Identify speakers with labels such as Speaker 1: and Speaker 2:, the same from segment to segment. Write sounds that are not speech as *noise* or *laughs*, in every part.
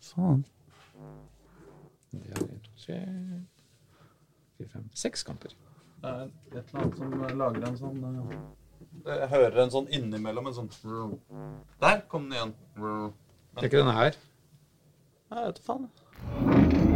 Speaker 1: Faen.
Speaker 2: Det er tre, fire, fem, seks kamper.
Speaker 3: Det er et eller annet som lager en sånn eh,
Speaker 1: Jeg hører en sånn innimellom, en sånn Der kom den igjen.
Speaker 2: Det er ikke denne her.
Speaker 1: Jeg vet da faen.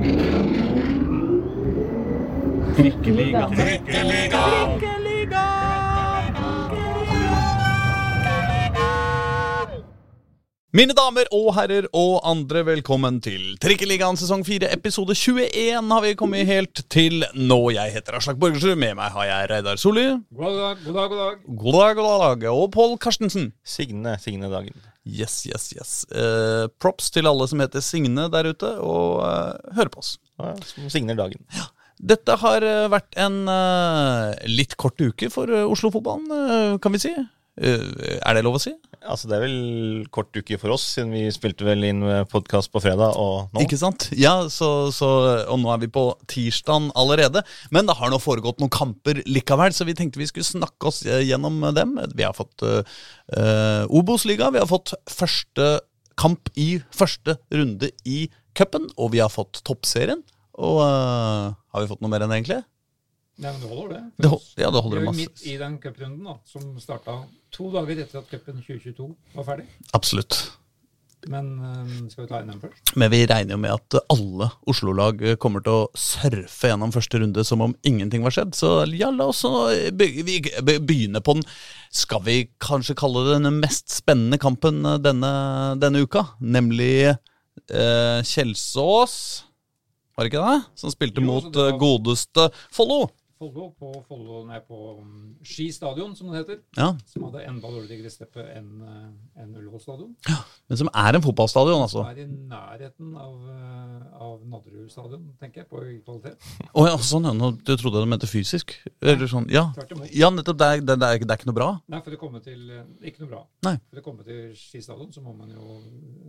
Speaker 1: Mine damer og herrer og andre, velkommen til Trikkeligaen sesong 4, episode 21 har vi kommet helt til nå. Jeg heter Aslak Borgersrud, med meg har jeg Reidar Solli.
Speaker 2: God dag, god dag. god dag.
Speaker 1: God dag, god dag. Og Pål Karstensen.
Speaker 4: Signe, Signe Dagen.
Speaker 1: Yes, yes, yes. Eh, props til alle som heter Signe der ute, og eh, hører på oss.
Speaker 4: Ja, Som signer dagen.
Speaker 1: Dette har eh, vært en eh, litt kort uke for eh, Oslo-fotballen, eh, kan vi si. Eh, er det lov å si?
Speaker 4: Altså, det er vel kort uke for oss, siden vi spilte vel inn podkast på fredag og nå.
Speaker 1: Ikke sant? Ja, så, så, og nå er vi på tirsdagen allerede. Men det har nå foregått noen kamper likevel, så vi tenkte vi skulle snakke oss eh, gjennom dem. Vi har fått uh, Obos-liga, vi har fått første kamp i første runde i cupen, og vi har fått toppserien. Og eh, har vi fått noe mer enn det, egentlig?
Speaker 5: Nei, men det holder, det.
Speaker 1: Det hol- ja, det
Speaker 5: Vi
Speaker 1: holder
Speaker 5: er jo
Speaker 1: masse.
Speaker 5: midt i den cuprunden da, som starta to dager etter at cupen 2022 var ferdig.
Speaker 1: Absolutt.
Speaker 5: Men øhm, skal vi ta inn den først?
Speaker 1: Men vi regner jo med at alle Oslo-lag eh, kommer til å surfe gjennom første runde som om ingenting var skjedd. Så ja, la oss nå be- vi be- begynne på den, skal vi kanskje kalle det den mest spennende kampen eh, denne, denne uka. Nemlig eh, Kjelsås, var det ikke det? Som spilte
Speaker 5: Jo,
Speaker 1: mot
Speaker 5: altså, det
Speaker 1: eh,
Speaker 5: var-
Speaker 1: godeste Follo.
Speaker 5: Follo på, Follo, nei, på øhm, Ski stadion, som det heter.
Speaker 1: Ja,
Speaker 5: Som hadde enda dårligere gressteppe enn øh, enn Ullevål stadion.
Speaker 1: men som er en fotballstadion, altså.
Speaker 5: Som er i nærheten av, øh, av Nadderud stadion, tenker jeg, på i kvalitet.
Speaker 1: Å ja, sånn, ja. nå- Du trodde du mente fysisk? Eller sånn, ja.
Speaker 5: Tvert imot.
Speaker 1: Ja, nettopp. Det er, det, er, det er ikke noe bra.
Speaker 5: Nei, for å komme til øh, Ikke noe bra.
Speaker 1: Nei.
Speaker 5: For å komme til Ski stadion så må man jo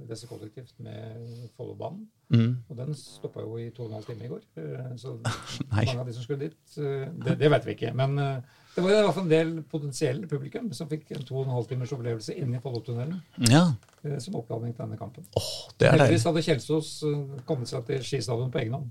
Speaker 5: reise kollektivt med Follobanen.
Speaker 1: Mm.
Speaker 5: Og den stoppa jo i to og en halv time i går. eh, Så
Speaker 1: *laughs* Nei.
Speaker 5: mange av de som skulle dit eh, Det, det vet vi ikke. Men eh, det var i hvert fall en del potensielle publikum som fikk en to og en halv timers opplevelse inne i Follotunnelen
Speaker 1: Ja.
Speaker 5: eh, som oppladning til denne kampen.
Speaker 1: Åh, det er deilig.
Speaker 5: Heldigvis hadde Kjelsås eh, kommet seg til skistadion på egen hånd.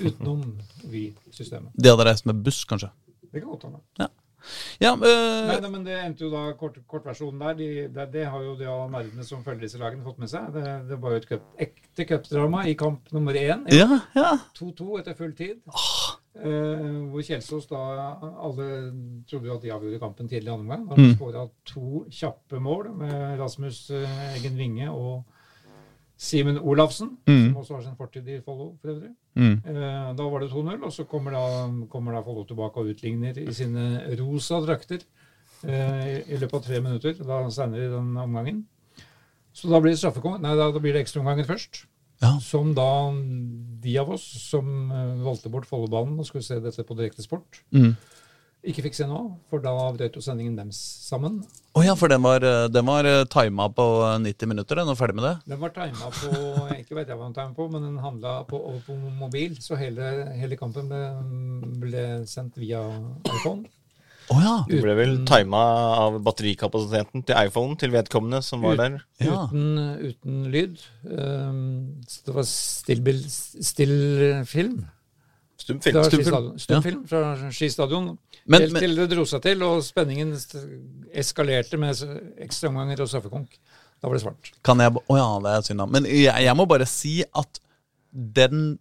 Speaker 5: Utenom Vy-systemet.
Speaker 1: De hadde reist med buss, kanskje.
Speaker 5: Det kan godt hende.
Speaker 1: Ja,
Speaker 5: Nei,
Speaker 1: eh,
Speaker 5: nei, men det endte jo da kort, kortversjonen der. De, det, det har jo de av nerdene som følger disse lagene, fått med seg. Det, det var jo et cup, ekte cupdrama i kamp nummer én.
Speaker 1: ja, ja.
Speaker 5: 2-2 etter full tid.
Speaker 1: Ah.
Speaker 5: Eh, hvor Kjelsås da Alle trodde jo at de avgjorde kampen tidlig i andre omgang. Da de
Speaker 1: Mm.
Speaker 5: skåra to kjappe mål med Rasmus eh, Eggen Winge og Simen Olafsen,
Speaker 1: Mm.
Speaker 5: som også har sin fortid i Follo for øvrig. Eh, da var det 2-0, og så kommer da, kommer da Follo tilbake og utligner i sine rosa drakter eh, i, i løpet av tre minutter da senere i den omgangen. Så da blir det straffekonk- Nei, da, da blir det ekstraomgangen først.
Speaker 1: Ja.
Speaker 5: Som da de av oss som eh, valgte bort Follobanen og skulle se dette på direkte sport,
Speaker 1: Mm.
Speaker 5: ikke fikk se nå, for da brøt jo sendingen deres sammen.
Speaker 1: Å ja, for den var, eh, den var eh, tima på eh, 90 minutter, den, og ferdig med det.
Speaker 5: Den var tima på Ikke vet jeg hva den timet på, men den handla på, over på mobil. Så hele, hele kampen ble, ble sendt via iPhone.
Speaker 1: Å ja.
Speaker 4: Du ble vel tima av batterikapasiteten til iPhonen til vedkommende som var der.
Speaker 1: ja.
Speaker 5: Uten, uten lyd. Ehm, så det var stillbil- stillfilm.
Speaker 4: Stumfilm.
Speaker 5: Fra
Speaker 4: Stum.
Speaker 5: skistadion. Stumfilm fra skistadion.
Speaker 1: Men-
Speaker 5: Helt
Speaker 1: men-
Speaker 5: til det dro seg til, og spenningen st- eskalerte med s- ekstraomganger og straffekonk. Da var det svart.
Speaker 1: Kan jeg ba- Å ja, det er synd, da. Men jeg, jeg må bare si at den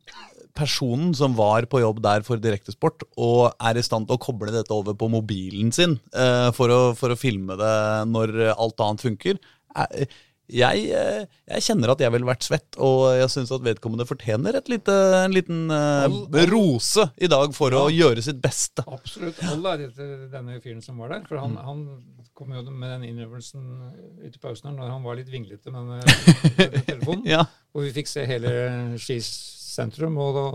Speaker 1: personen som var på jobb der for Direktesport, og er i stand til å koble dette over på mobilen sin eh, for, å, for å filme det når eh, alt annet funker er- jeg, eh, jeg kjenner at jeg ville vært svett, og jeg syns at vedkommende fortjener et lite, en liten eh, rose i dag for å gjøre sitt beste.
Speaker 5: Absolutt all ære til denne fyren som var der. For han,
Speaker 1: Mm.
Speaker 5: han kom jo med den innrømmelsen ute i pausen her når han var litt
Speaker 1: *laughs*
Speaker 5: vinglete med den eh, telefonen.
Speaker 1: Ja.
Speaker 5: Og vi fikk se hele Skis sentrum og da,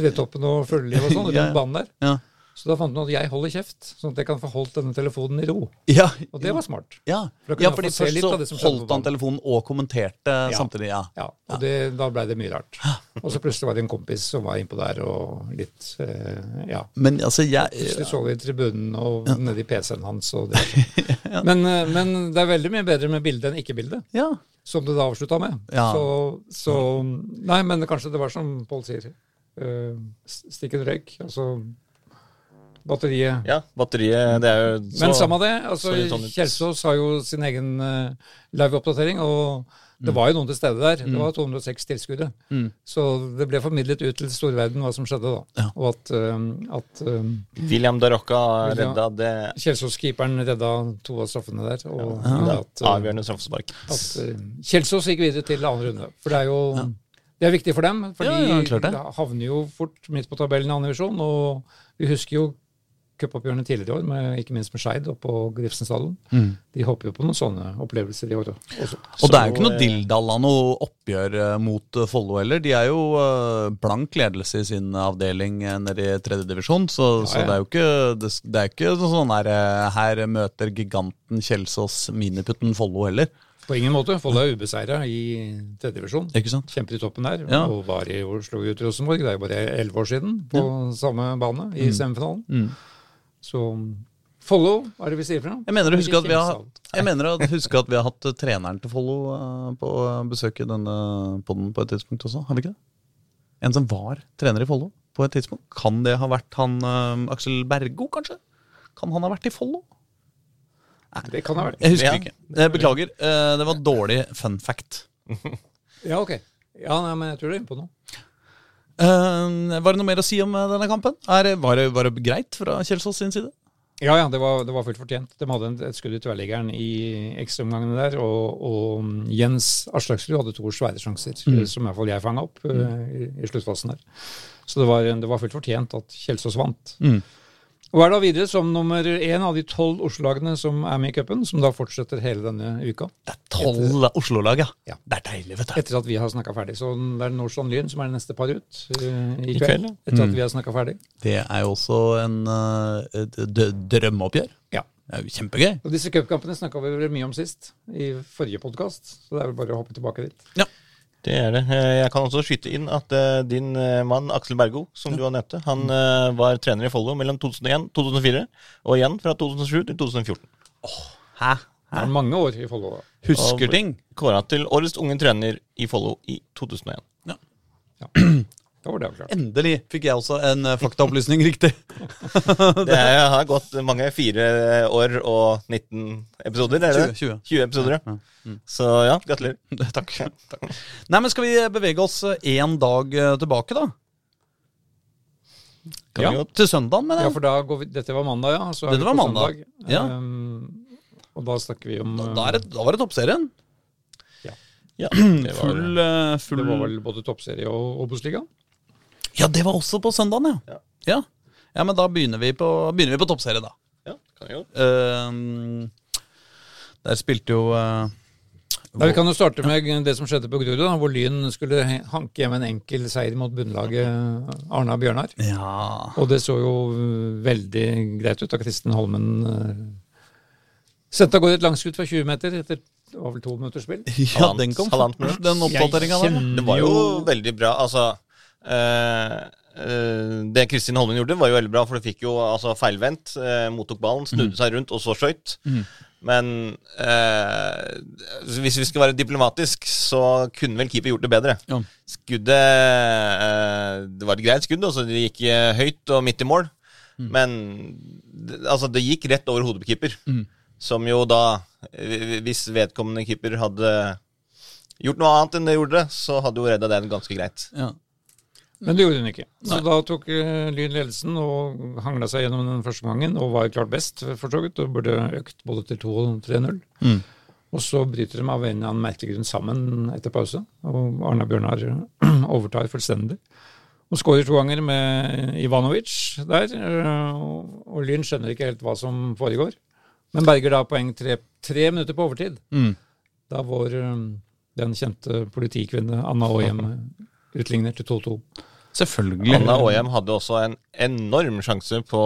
Speaker 5: Tretoppen og Fugleliv og
Speaker 1: Ja,
Speaker 5: sånn rundt
Speaker 1: ja.
Speaker 5: banen der.
Speaker 1: Ja.
Speaker 5: Så da fant hun at jeg holder kjeft, sånn at jeg kan få holdt denne telefonen i ro.
Speaker 1: Ja,
Speaker 5: Og det var smart.
Speaker 1: ja.
Speaker 5: For da kunne
Speaker 1: ja
Speaker 5: jeg
Speaker 1: fordi
Speaker 5: få se litt av det
Speaker 1: først
Speaker 5: som
Speaker 1: så
Speaker 5: skjedde på
Speaker 1: holdt han
Speaker 5: banen.
Speaker 1: telefonen og kommenterte samtidig. Ja.
Speaker 5: Ja, og det, da blei det mye rart. Og så plutselig var det en kompis som var innpå der og litt eh, Ja.
Speaker 1: Men altså,
Speaker 5: Plutselig
Speaker 1: jeg
Speaker 5: så vi tribunen og nedi PC-en hans og det. Men, eh, men det er veldig mye bedre med bilde enn ikke-bilde,
Speaker 1: Ja.
Speaker 5: som det da avslutta med.
Speaker 1: Ja.
Speaker 5: Så, så Nei, men kanskje det var som Pål sier. eh, stikk en røyk, altså batteriet
Speaker 4: Ja, batteriet det er jo så,
Speaker 5: Men samme det. altså
Speaker 4: så litt sånn ut.
Speaker 5: Kjelsås har jo sin egen eh, live-oppdatering, og
Speaker 4: Mm.
Speaker 5: det var jo noen til stede der. Det var 206 tilskuere. Så det ble formidlet ut til storverden hva som skjedde, da. Og at, eh, at eh,
Speaker 4: William Darocca
Speaker 5: William-
Speaker 4: redda det
Speaker 5: Kjelsås-keeperen redda to av straffene der. Og gjorde at, eh,
Speaker 4: avgjørende straffespark.
Speaker 5: at eh, Kjelsås gikk videre til andre runde. For det er jo Det er viktig for dem, for
Speaker 1: Ja, ja, klart det.
Speaker 5: de havner jo fort midt på tabellen i andre divisjon. Og vi husker jo cupoppgjørene tidligere i år, med, ikke minst med Skeid oppe på Grefsenstadion.
Speaker 1: Mm.
Speaker 5: De håper jo på noen sånne opplevelser i år også.
Speaker 1: Og det er jo ikke
Speaker 4: Så,
Speaker 1: noe
Speaker 4: eh,
Speaker 1: dilldalla noe oppgjør eh, mot eh, Follo heller. De er jo eh, blank ledelse i sin avdeling eh, nede i tredje divisjon, så, så
Speaker 5: ja.
Speaker 1: det er jo ikke, det, s- det er ikke noe sånn her eh, Her møter giganten Kjelsås miniputten Follo heller.
Speaker 5: På ingen måte. Follo er ubeseira i tredje divisjon.
Speaker 1: Ikke sant?
Speaker 5: Kjemper i toppen der.
Speaker 1: Ja.
Speaker 5: Og var i Oslo ut Rosenborg. Det er jo bare elleve år siden på samme bane
Speaker 1: Mm.
Speaker 5: i semifinalen. Så Follo, hva er det vi sier for noe?
Speaker 1: Jeg mener å huske at vi har,
Speaker 5: Kjelsås.
Speaker 1: jeg mener å huske at vi har hatt eh, treneren til Follo eh, på eh, besøk i denne podden på et tidspunkt også, har vi ikke det? En som var trener i Follo på et tidspunkt. Kan det ha vært han eh, Aksel Bergo, kanskje? Kan han ha vært i Follo?
Speaker 5: Det kan ha vært.
Speaker 1: Jeg husker
Speaker 4: Ja.
Speaker 1: ikke. Jeg beklager. Eh, Det var dårlig fun fact.
Speaker 5: Ja, ok. Ja, nei, men jeg tror du er inne på noe.
Speaker 1: Eh, Var det noe mer å si om eh, denne kampen? Er, det- var, det, var det greit fra Kjelsås sin side?
Speaker 5: Ja, ja, det var, det var fullt fortjent. De hadde en, et skudd i tverrliggeren i ekstraomgangene der, og, og mm, Jens Aslaksrud hadde to svære sjanser, eh, som i hvert fall jeg fanga opp eh, i, i sluttfasen der. Så det var, eh, det var fullt fortjent at Kjelsås vant.
Speaker 1: Mm.
Speaker 5: Og er da videre som nummer én av de tolv Oslo-lagene som er med i cupen, som da fortsetter hele denne uka.
Speaker 1: Det er tolv Oslo-lag,
Speaker 5: Ja.
Speaker 1: Det er deilig, vet du.
Speaker 5: Etter at vi har snakka ferdig. Så det er Nordstrand Lyn som er det neste par ut eh, i
Speaker 4: I kveld,
Speaker 5: kveld.
Speaker 4: ja.
Speaker 5: Etter at vi har snakka ferdig.
Speaker 1: Det er jo også en, eh, et d- drømmeoppgjør.
Speaker 5: Ja.
Speaker 1: Det er jo kjempegøy.
Speaker 5: Og disse cupkampene snakka vi vel mye om sist, i forrige podkast. Så det er vel bare å hoppe tilbake dit.
Speaker 4: Det er det. Eh, Jeg kan også skyte inn at eh, din eh, mann Aksel Bergo, som du har nevnt, han eh, var trener i Follo mellom 2001 2004, og igjen fra 2007 til 2014.
Speaker 1: Hæ?
Speaker 5: Det er mange år i Follo. da.
Speaker 1: Husker
Speaker 4: Og-
Speaker 1: ting.
Speaker 4: Kåra til årets unge trener i Follo i 2001.
Speaker 5: Da var det avklart.
Speaker 1: Endelig fikk jeg også en eh,
Speaker 4: *laughs*
Speaker 1: faktaopplysning riktig.
Speaker 4: Det er, eh, har gått mange fire år og 19 episoder, er det?
Speaker 1: 20, 20.
Speaker 4: 20 episoder, ja. Mm. Så ja, gratulerer.
Speaker 1: *laughs* Takk. Takk. Nei, men skal vi eh, bevege oss én dag eh, tilbake, da?
Speaker 4: Kan vi
Speaker 5: Ja.
Speaker 4: godt.
Speaker 1: Til søndagen, mener
Speaker 5: Ja,
Speaker 1: jeg.
Speaker 5: for da går vi, Dette var mandag, ja. Så er
Speaker 1: Dette
Speaker 5: vi på
Speaker 1: var mandag,
Speaker 5: søndag.
Speaker 1: ja.
Speaker 5: Ehm, og da snakker vi om eh,
Speaker 1: Da, er det, da var det toppserien.
Speaker 4: Ja, det var
Speaker 1: Full, eh,
Speaker 5: eh,
Speaker 1: full
Speaker 5: Det var vel både toppserie og Obos-ligaen?
Speaker 1: Ja, det var også på søndagen, ja.
Speaker 4: Ja.
Speaker 1: ja. ja. men da begynner vi på, begynner vi på toppserie, da.
Speaker 4: Ja, kan vi godt.
Speaker 1: Ehm, der spilte jo eh,
Speaker 5: Ja, vi kan jo starte med det som skjedde på Grorud, da, hvor Lyn skulle he- hanke hjem en enkel seier mot bunnlaget Arna-Bjørnar.
Speaker 1: Ja
Speaker 5: Og det så jo øh, veldig greit ut da Kristin Holmen øh, sendte av gårde et langskudd fra 20 meter etter det var vel to minutters spill.
Speaker 1: Ja,
Speaker 4: Halvannet-
Speaker 1: den kom
Speaker 4: halvannet
Speaker 1: fort,
Speaker 4: minutt.
Speaker 1: den oppdateringa der.
Speaker 5: kjenner-
Speaker 4: Det var jo
Speaker 5: Jo.
Speaker 4: veldig bra. Altså eh, eh, Det Kristin Holmen gjorde, var jo veldig bra, for du fikk jo altså, feilvendt. eh, mottok ballen,
Speaker 5: Mm.
Speaker 4: snudde seg rundt, og så skøyt. Men eh, hvis vi skal være diplomatisk, så kunne vel keeper gjort det bedre.
Speaker 1: Ja.
Speaker 4: Skuddet eh, Det var et greit skudd, altså. Det gikk eh, høyt og midt i mål. Men det- altså, det gikk rett over hodet på keeper. Som jo da eh, Hvis vedkommende keeper hadde gjort noe annet enn det gjorde, så hadde jo redda den ganske greit.
Speaker 1: Ja.
Speaker 5: Men det gjorde hun ikke. Så da tok øh, Lyn ledelsen og hangla seg gjennom den første gangen og var klart best, for så vidt, og burde økt både til 2 og 3-0.
Speaker 1: Mm.
Speaker 5: Og så bryter de av en eller annen merkelig grunn sammen etter pause, og Arna Bjørnar *clears throat* overtar fullstendig. Og skårer to ganger med Ivanovic der, øh, og- og Lyn skjønner ikke helt hva som foregår. Men berger da poeng tre, tre minutter på overtid.
Speaker 1: Mm.
Speaker 5: Da eh, vår øh, den kjente politikvinne Anna Åhjem utligner til 2-2.
Speaker 1: Selvfølgelig.
Speaker 4: Anna Aahjem hadde også en enorm sjanse på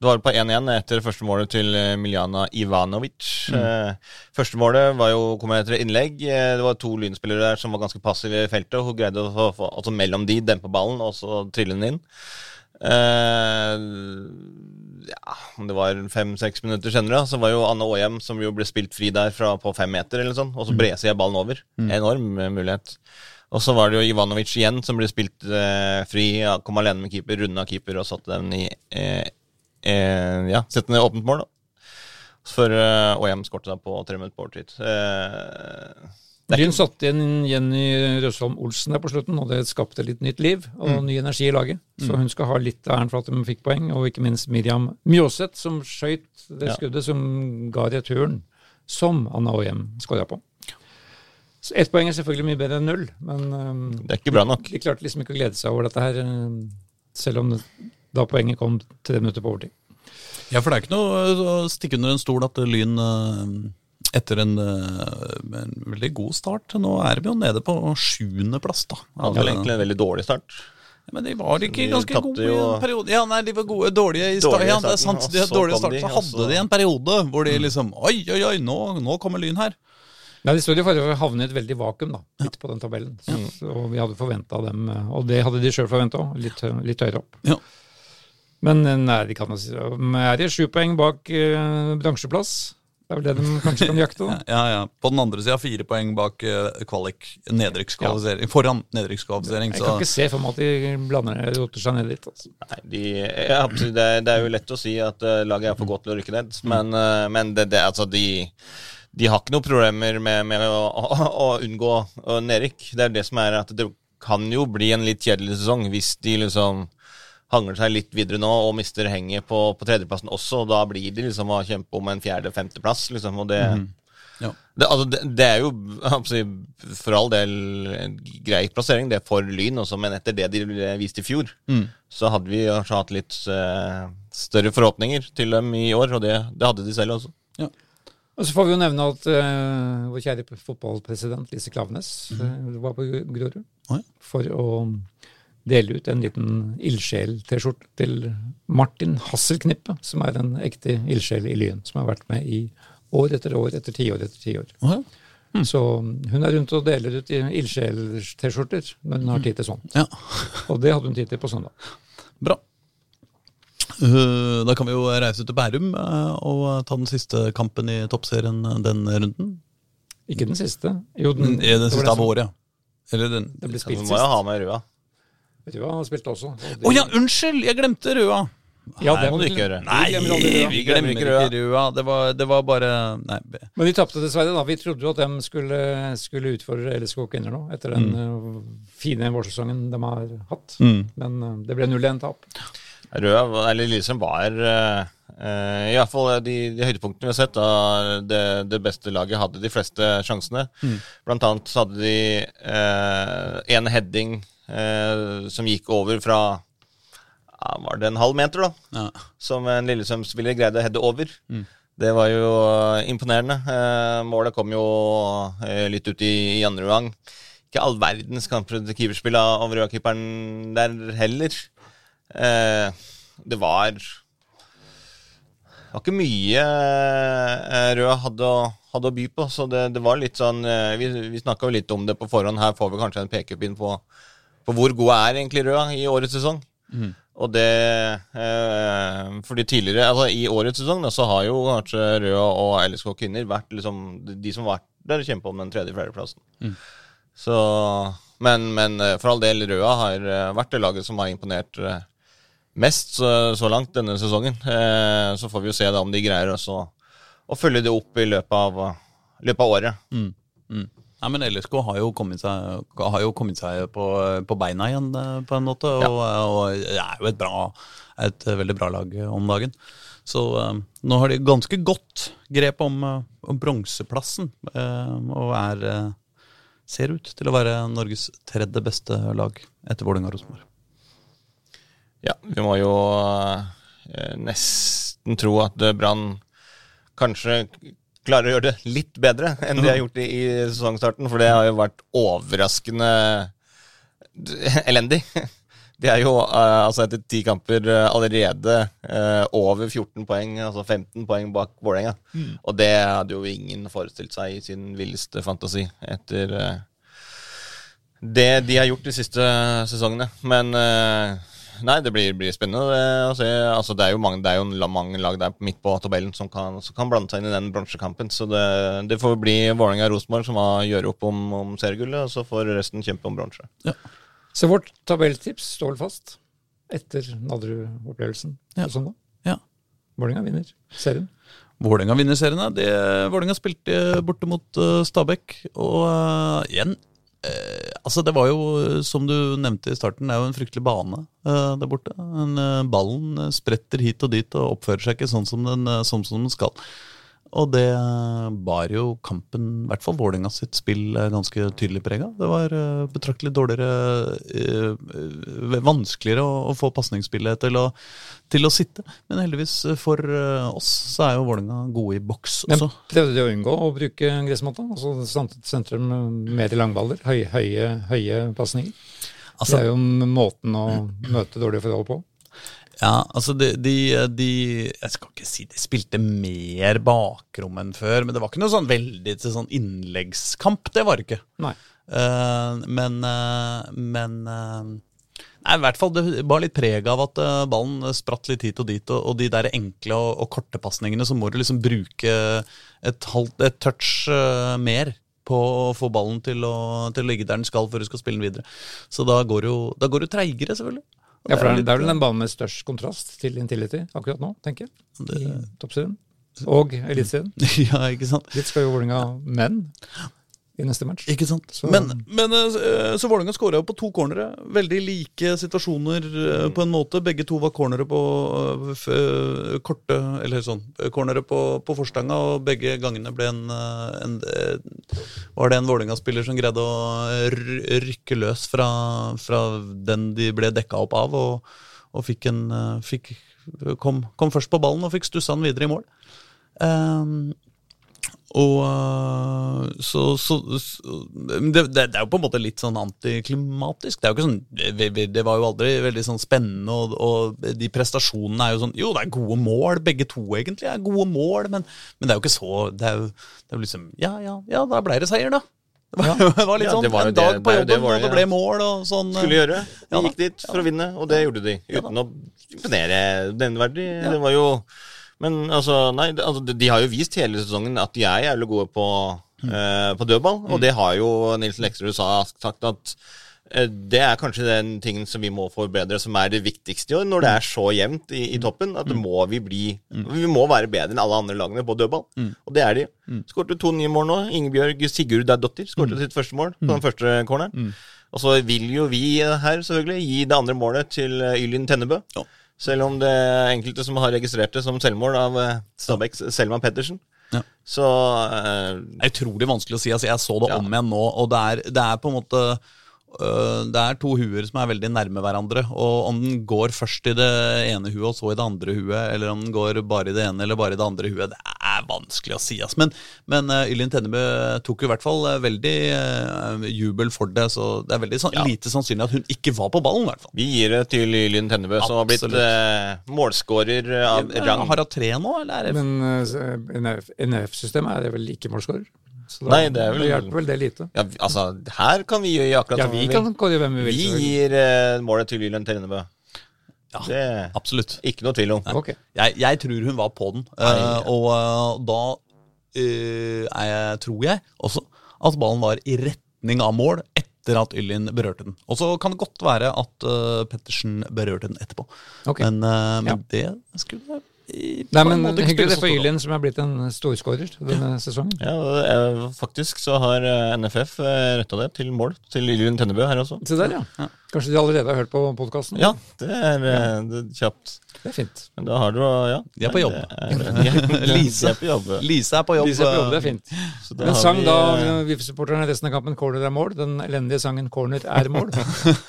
Speaker 4: Det var på 1-1 etter første målet til eh, Miljana Ivanovic. Eh, Første målet var jo, kom etter et innlegg. Eh, Det var to lynspillere der som var ganske passive i feltet. Hun greide å få- få altså mellom de dempe ballen og så trille den inn. Eh, ja, om det var fem-seks minutter senere, så var jo Anne Aahjem, som jo ble spilt fri der fra, på fem meter, eller sånn, og så breser jeg ballen over. Enorm eh, mulighet. Og så var det jo Ivanovic igjen, som ble spilt eh, fri. ja, Kom alene med keeper, runda keeper og satte den i eh, eh, Ja, sette den i åpent mål, da. For eh, Aahjem skåret da på tre minutter på overtid. Eh,
Speaker 5: Lyn satte igjen Jenny Røsholm Olsen der på slutten, og det skapte litt nytt liv og ny energi i laget. Så hun skal ha litt av æren for at de fikk poeng, og ikke minst Miriam Mjåseth, som skøyt det
Speaker 4: Ja.
Speaker 5: skuddet som ga returen, som Anna Aahjem skåra på. Så ett poeng er selvfølgelig mye bedre enn null, men øhm,
Speaker 4: det er ikke bra nok.
Speaker 5: de klarte liksom ikke å glede seg over dette her, øhm, selv om det, da poenget kom tre minutter på overtid.
Speaker 1: Ja, for det er ikke noe eh, å stikke under en stol at Lyn eh, etter en, eh, en veldig god start Nå er vi jo nede på sjuendeplass, da. Altså,
Speaker 4: Det var Altså, egentlig en veldig dårlig start.
Speaker 1: Ja, men de var ikke
Speaker 4: De
Speaker 1: ganske
Speaker 4: tapte
Speaker 1: gode i
Speaker 4: jo-
Speaker 1: en periode. Ja, nei, de var gode, dårlige i starten.
Speaker 4: Dårlige i
Speaker 1: Ja, det er
Speaker 4: starten,
Speaker 1: sant.
Speaker 4: og
Speaker 1: De hadde
Speaker 4: så
Speaker 1: dårlige
Speaker 4: kom
Speaker 1: start,
Speaker 4: de,
Speaker 1: så
Speaker 4: og
Speaker 1: hadde
Speaker 4: så- Mm.
Speaker 1: de en periode hvor de liksom Oi, oi, oi, nå, nå kommer Lyn her.
Speaker 5: Nei, De står i fare for å havne i et veldig vakuum da, litt på den tabellen. Så, og vi hadde forventa dem, eh, og det hadde de sjøl forventa òg, litt, hø- litt høyere opp.
Speaker 1: Ja.
Speaker 5: Men eh, nei, de kan jo si De er i sju poeng bak eh, bransjeplass. Det er vel det de kanskje kan jakte. da.
Speaker 1: *laughs* Ja, ja. På den andre sida fire poeng bak eh, kvalik, nedrykkskvalifisering. Foran nedrykkskvalifisering,
Speaker 5: Jeg
Speaker 1: så
Speaker 5: kan ikke se for meg at de blander roter seg ned dit. Altså.
Speaker 4: Nei, de, ja, absolutt, det, er- det er jo lett å si at eh, laget er for godt til å rykke ned, men, eh, men det, det, altså, de, de har ikke noen problemer med, med å, å, å unngå eh, nedrykk. Det er det som er at det kan jo bli en litt kjedelig sesong hvis de liksom hangler seg litt videre nå og mister henget på, på tredjeplassen også. og Da blir de liksom å kjempe om en fjerde-femteplass, liksom, og det
Speaker 1: Ja.
Speaker 4: det, altså, det, det er jo absolutt, for all del en grei plassering, det er for Lyn også, men etter det de ble vist i fjor, så hadde vi kanskje hatt litt eh, større forhåpninger til dem i år, og det, det hadde de selv også.
Speaker 5: Og Så får vi jo nevne at eh, vår kjære fotballpresident Lise Klaveness
Speaker 1: Mhm.
Speaker 5: eh, var på Grorud
Speaker 1: Å ja.
Speaker 5: for å dele ut en liten ildsjel-T-skjorte til Martin Hasselknippe, som er en ekte ildsjel i Lyen, som har vært med i år etter år etter tiår etter tiår.
Speaker 1: Å Mm.
Speaker 5: Så mm, hun er rundt og deler ut i ildsjel-T-skjorter når hun har tid til sånt.
Speaker 1: Mm. ja.
Speaker 5: Og det hadde hun tid til på søndag.
Speaker 1: Bra. Eh, Da kan vi jo reise til Bærum eh, og ta den siste kampen i toppserien eh, den runden.
Speaker 5: Ikke den siste. Jo,
Speaker 1: Den,
Speaker 5: den,
Speaker 1: eh, den
Speaker 5: Mm. det var
Speaker 1: siste av
Speaker 5: som-
Speaker 1: året, ja. Eller den
Speaker 5: Den ble
Speaker 4: Så vi
Speaker 5: spilt
Speaker 4: må jo
Speaker 5: sist.
Speaker 4: ha med Røa.
Speaker 5: Røa har spilt også. og
Speaker 1: Å ja, unnskyld! Jeg glemte Røa.
Speaker 5: ja,
Speaker 4: Det må du ikke gjøre.
Speaker 1: Nei,
Speaker 5: glemmer aldri Røa.
Speaker 1: vi glemmer ikke Røa. Det var, det var bare Nei. be-
Speaker 5: Men de tapte dessverre, da. Vi trodde jo at de skulle, skulle utfordre LSK kvinner nå, etter den
Speaker 1: Mm.
Speaker 5: eh, fine vårsesongen de har hatt. Men eh, det ble 0-1-tap.
Speaker 4: Røa, var- eller Lillestrøm, var eh, eh, i hvert fall de, de høydepunktene vi har sett. Da, det, det beste laget hadde de fleste sjansene. Blant annet så hadde de eh, en heading eh, som gikk over fra ja, Var det en halv meter, da?
Speaker 1: Ja.
Speaker 4: som en Lillesøm-spiller greide å heade over. Det var jo eh, imponerende. Eh, målet kom jo eh, litt ut i, i andre omgang. Ikke all verdens kamper til keeperspill av av rødkeeperen der heller. Eh, det var Det var ikke mye eh, Rød hadde å, hadde å by på, så det, det var litt sånn eh, Vi, vi snakka jo litt om det på forhånd. Her får vi kanskje en pekepinn på, på hvor god er egentlig Rød i årets sesong. Og det eh, Fordi tidligere, altså i årets sesong, da, så har jo kanskje Røa og LSK Kvinner vært liksom de- de som har vært der og kjempa om den tredje-fjerdeplassen. Så men, men eh, for all del, Røa har eh, vært det laget som har imponert eh, mest så, så langt denne sesongen. Eh, så får vi jo se da om de greier også å følge det opp i løpet av, løpet av året.
Speaker 1: Nei, Mm. men LSK har jo kommet seg, har jo kommet seg på, på beina igjen, eh, på en måte. Og, og det er jo et, bra, et veldig bra lag eh, om dagen. Så eh, nå har de ganske godt grep om, eh, om bronseplassen, eh, og er eh, ser ut til å være Norges tredje beste lag etter Vålerenga og Rosenborg.
Speaker 4: Ja, vi må jo eh, nesten tro at eh, Brann kanskje klarer å gjøre det litt bedre *laughs* enn de har gjort i, i sesongstarten, for det har jo vært overraskende d- eh, *laughs* elendig. De er jo eh, altså etter ti kamper eh, allerede eh, over 14 poeng, altså 15 poeng bak Vålerenga. Og det hadde jo ingen forestilt seg i sin villeste fantasi etter eh, det de har gjort de siste sesongene. Men eh, nei, det blir, blir spennende eh, å se. Altså, det er jo mange, det er jo la- mange lag der midt på tabellen som kan, som kan blande seg inn i den bronsekampen. Så det, det får bli Vålerenga-Rosenborg som har gjøre opp om, om seriegullet, og så får resten kjempe om bronse.
Speaker 5: Så vårt tabelltips står fast etter Nadderud-opplevelsen
Speaker 1: Ja.
Speaker 5: på søndag.
Speaker 1: Ja.
Speaker 5: Vålerenga vinner serien.
Speaker 1: Vålerenga vinner serien. ja. Det, Vålerenga spilte borte mot eh, Stabæk, og eh, igjen eh, Altså, det var jo, eh, som du nevnte i starten, det er jo en fryktelig bane eh, der borte. En, eh, ballen eh, spretter hit og dit og oppfører seg ikke sånn som den, eh, sånn som den skal. Og det eh, bar jo kampen, i hvert fall Vålerenga sitt spill, eh, ganske tydelig preg av. Det var eh, betraktelig dårligere eh, eh, Vanskeligere å, å få pasningsspillet til, å- til å sitte. Men heldigvis eh, for eh, oss så er jo Vålerenga gode i boks
Speaker 5: Men
Speaker 1: også.
Speaker 5: prøvde de å unngå å bruke gressmatta? Altså sant- sentrum mer i langballer, høye, høye, høye pasninger.
Speaker 1: Altså-
Speaker 5: det er jo måten å møte dårlige forhold på.
Speaker 1: Ja, altså de, de, de Jeg skal ikke si de spilte mer bakrom enn før, men det var ikke noe sånn veldig til sånn innleggskamp. Det var det ikke.
Speaker 5: Nei.
Speaker 1: Eh, men eh, men eh, nei, i hvert fall det bar litt preg av at eh, ballen spratt litt hit og dit, og, og de der enkle og, og korte pasningene, så må du liksom bruke et, halvt, et touch eh, mer på å få ballen til å, til å ligge der den skal før du skal spille den videre. Så da går det jo, da går det jo treigere, selvfølgelig. Og
Speaker 5: Ja, for det er, eh,
Speaker 1: litt- *laughs*
Speaker 5: det er vel den banen med størst kontrast til Intility akkurat nå, tenker jeg. I
Speaker 1: Det-
Speaker 5: toppserien. Og Eliteserien.
Speaker 1: ja, ikke sant?
Speaker 5: Dit skal jo Vålerenga menn i neste match.
Speaker 1: Ikke sant?
Speaker 5: Så-
Speaker 1: men men eh, så Vålerenga skåra jo på to cornere. Veldig like situasjoner eh, på en måte. Begge to var cornere på eh, f eh, korte Eller sånn eh, cornere på, på forstanga, og begge gangene ble en, eh, en eh, Var det en Vålerenga-spiller som greide å r- rykke løs fra, fra den de ble dekka opp av, og, og fikk en eh, fikk, kom, kom først på ballen og fikk stussa den videre i mål. Eh, og øh, så, så, så men det, det er jo på en måte litt sånn antiklimatisk. Det er jo ikke sånn vi- vi- Det var jo aldri veldig sånn spennende, og, og de prestasjonene er jo sånn Jo, det er gode mål, begge to egentlig er gode mål, men, men det er jo ikke så Det er jo, det er jo liksom Ja, ja, ja, da ble det seier, da. Det var, det var litt
Speaker 4: Ja,
Speaker 1: sånn
Speaker 4: det var jo
Speaker 1: en dag
Speaker 4: det-
Speaker 1: på
Speaker 4: det er jo det
Speaker 1: jobben, og det
Speaker 4: Vålerenga
Speaker 1: ble mål og sånn. øh,
Speaker 4: skulle gjøre.
Speaker 1: Ja
Speaker 4: De
Speaker 1: da.
Speaker 4: gikk dit for å vinne, og det gjorde de. Uten å imponere nevneverdig. Det var jo Men altså, nei, det- altså, de har jo vist hele sesongen at de er jævlig gode på,
Speaker 1: Mm.
Speaker 4: eh, på dødball, og det har jo Nilsen Leksterud sa- sagt at eh, det er kanskje den tingen som vi må forbedre, som er det viktigste i år,
Speaker 1: Mm.
Speaker 4: når det er så jevnt i, i toppen. At må vi bli Vi må være bedre enn alle andre lagene på dødball,
Speaker 1: Mm.
Speaker 4: og det er de. Skårte to nye mål nå. Ingebjørg Sigurd Dottir skårte
Speaker 1: Mm.
Speaker 4: sitt første mål på den første corneren. Og så vil jo vi eh, her selvfølgelig gi det andre målet til eh, Ylin Tennebø.
Speaker 1: Ja.
Speaker 4: Selv om det er enkelte som har registrert det som selvmål av eh, Stabæks Selma Pettersen.
Speaker 1: Ja.
Speaker 4: Så eh,
Speaker 1: Det er utrolig vanskelig å si. Altså, jeg så det
Speaker 4: Ja.
Speaker 1: om igjen nå, og det er, det er på en måte øh, Det er to huer som er veldig nærme hverandre. Og om den går først i det ene huet og så i det andre huet, eller om den går bare i det ene eller bare i det andre huet, det er vanskelig å si. ass. Men, men øh, Ylin Tennebø tok jo i hvert fall øh, veldig øh, jubel for det, så det er veldig sann-
Speaker 4: Ja.
Speaker 1: lite sannsynlig at hun ikke var på ballen, i hvert fall.
Speaker 4: vi gir det til Ylin Tennebø, som har blitt
Speaker 1: Absolutt.
Speaker 4: eh, målskårer av rang.
Speaker 1: Har hun tre nå, eller? er det-
Speaker 5: Men eh, NF-systemet er vel ikke målskårer. Så da
Speaker 4: Nei, det er vel-
Speaker 5: hjelper vel det lite.
Speaker 4: Ja, vi- altså, her kan vi gjøre akkurat
Speaker 5: Ja,
Speaker 4: som
Speaker 5: vi kan kåre hvem vi vil.
Speaker 4: Vi
Speaker 5: selvfølgelig.
Speaker 4: gir eh, målet til Ylin Tennebø.
Speaker 1: Ja.
Speaker 4: Det er
Speaker 1: Absolutt.
Speaker 4: ikke noe tvil om.
Speaker 5: Ok.
Speaker 1: Jeg, jeg tror hun var på den. eh, og eh, da eh, er jeg, tror jeg også at ballen var i retning av mål etter at Ylin berørte den. Og så kan det godt være at eh, Pettersen berørte den etterpå.
Speaker 5: Ok.
Speaker 1: Men, eh, men
Speaker 5: Ja.
Speaker 1: det skulle i- på
Speaker 5: Nei,
Speaker 1: en
Speaker 5: men
Speaker 1: måte ikke
Speaker 5: Hyggelig
Speaker 1: spille så
Speaker 5: det for
Speaker 1: stor rolle.
Speaker 5: Ylin, som er blitt en storskårer denne sesongen.
Speaker 4: Ja, og, eh, faktisk så har eh, NFF retta det til mål til Ylin Tennebø her også.
Speaker 5: Se der, ja. Kanskje de allerede har hørt på podkasten?
Speaker 4: Ja, det er, eh, det er kjapt.
Speaker 5: Det er fint.
Speaker 4: Men da har du ja.
Speaker 1: De er på jobb.
Speaker 4: Det
Speaker 1: *laughs*
Speaker 4: er- *laughs*
Speaker 1: Lise.
Speaker 4: De er på jobb.
Speaker 1: Lise er på jobb.
Speaker 5: De ser på jobb, det er fint.
Speaker 4: Så
Speaker 5: Men
Speaker 4: har
Speaker 5: sang
Speaker 4: vi,
Speaker 5: da
Speaker 4: eh,
Speaker 5: VIF-supporterne resten av kampen 'Corner er mål'? Den elendige sangen 'Corner er mål'?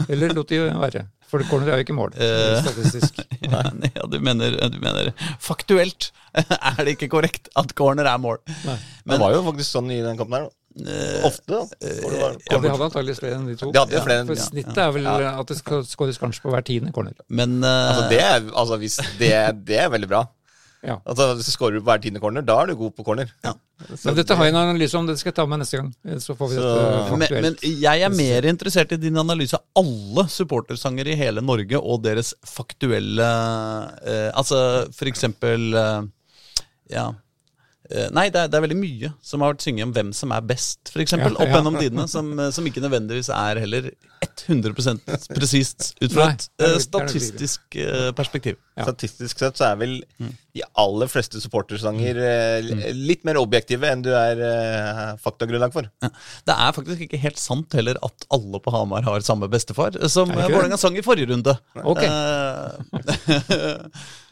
Speaker 5: Eller lot de være? For corner er jo ikke mål,
Speaker 1: Eh.
Speaker 5: statistisk.
Speaker 1: Ja, *laughs* nei, ja, du, mener, du mener *laughs* faktuelt er det ikke korrekt at corner er mål.
Speaker 4: Det var jo faktisk sånn i den kampen her, da.
Speaker 1: eh,
Speaker 4: Ofte, da. Hvor det var-
Speaker 5: Ja, de hadde antakeligvis flere enn de to.
Speaker 4: De hadde jo flere enn-
Speaker 5: For
Speaker 4: ja,
Speaker 5: snittet er vel at det skal skåres kanskje på hver tiende corner.
Speaker 1: Men eh,
Speaker 4: Altså, det, er, altså hvis det, det er veldig bra.
Speaker 5: Ja.
Speaker 4: Altså, hvis du scorer på hver tiende corner, da er du god på corner.
Speaker 1: Ja.
Speaker 4: Så
Speaker 5: Men dette har jeg en analyse om, det skal jeg ta med neste gang. Eh, Så får vi
Speaker 4: Så-
Speaker 5: dette
Speaker 1: men,
Speaker 5: faktuelt.
Speaker 1: men jeg er mer interessert i din analyse av alle supportersanger i hele Norge og deres faktuelle eh, Altså for eksempel eh, Ja. Eh, nei, det er, det er veldig mye som har vært synget om hvem som er best, f.eks. eksempel
Speaker 5: Ja,
Speaker 1: Opp
Speaker 5: ja.
Speaker 1: gjennom tidene, som, eh, som ikke nødvendigvis er heller 100 presist ut fra
Speaker 5: Nei,
Speaker 1: et
Speaker 5: det
Speaker 1: eh,
Speaker 5: er nok- det er nok
Speaker 1: statistisk eh, perspektiv.
Speaker 5: Ja.
Speaker 4: Statistisk sett så er vel
Speaker 1: Mm.
Speaker 4: de aller fleste supportersanger eh, li- litt mer objektive enn du er eh, faktagrunnlag for.
Speaker 1: Ja. Det er faktisk ikke helt sant heller at alle på Hamar har samme bestefar, som
Speaker 5: det ikke det?
Speaker 1: Vålerenga sang i forrige runde.
Speaker 5: Ok.
Speaker 1: *laughs* Eh,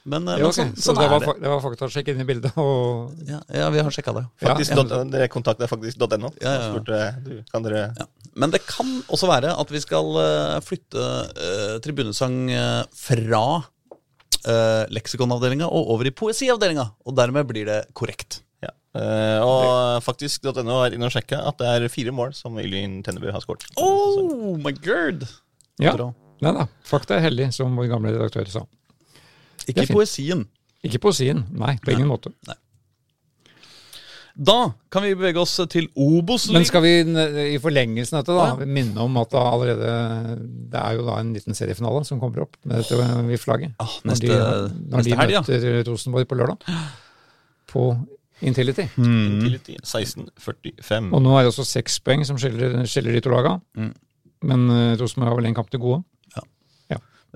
Speaker 1: men eh,
Speaker 5: Ja,
Speaker 1: men
Speaker 5: ok.
Speaker 1: sånn,
Speaker 5: så
Speaker 1: sånn
Speaker 5: det var,
Speaker 1: er det.
Speaker 5: fak- det var faktasjekk inne i bildet. Og
Speaker 1: Ja, ja, vi har sjekka det.
Speaker 5: Ja,
Speaker 4: Faktisk,
Speaker 5: ja.
Speaker 4: dot- Dere kontakta faktisk.no.
Speaker 1: Ja, ja, ja.
Speaker 4: og spurte, du, Kan dere
Speaker 1: Ja. Men det kan også være at vi skal eh, flytte eh, tribunesang eh, fra uh, leksikonavdelinga og over i poesiavdelinga, og dermed blir det korrekt.
Speaker 4: ja. Eh, Og faktisk.no er inne og sjekka at det er fire mål som Ylin Tenneby har Altså, skåret.
Speaker 1: Oh my god!
Speaker 5: ja,
Speaker 1: Bra.
Speaker 5: nei da. Fakta er hellig, som vår gamle redaktør sa.
Speaker 1: Ikke
Speaker 5: fint.
Speaker 1: i poesien.
Speaker 5: Ikke poesien. Nei, på ingen måte.
Speaker 1: Da kan vi bevege oss til obos
Speaker 5: Men skal vi n- i forlengelsen av dette
Speaker 1: Å, ja.
Speaker 5: da, minne om at da allerede Det er jo da en liten seriefinale som kommer opp med dette eh, i flagget.
Speaker 1: Ah,
Speaker 5: Når de,
Speaker 1: neste-
Speaker 5: når
Speaker 1: neste helg, ja.
Speaker 5: de møter Rosenborg på lørdag. På Intility.
Speaker 1: Mm.
Speaker 4: Intility 1645.
Speaker 5: Og nå er det også seks poeng som skiller, skiller de to laga.
Speaker 1: Mm.
Speaker 5: Men eh, Rosenborg har vel en kamp til gode.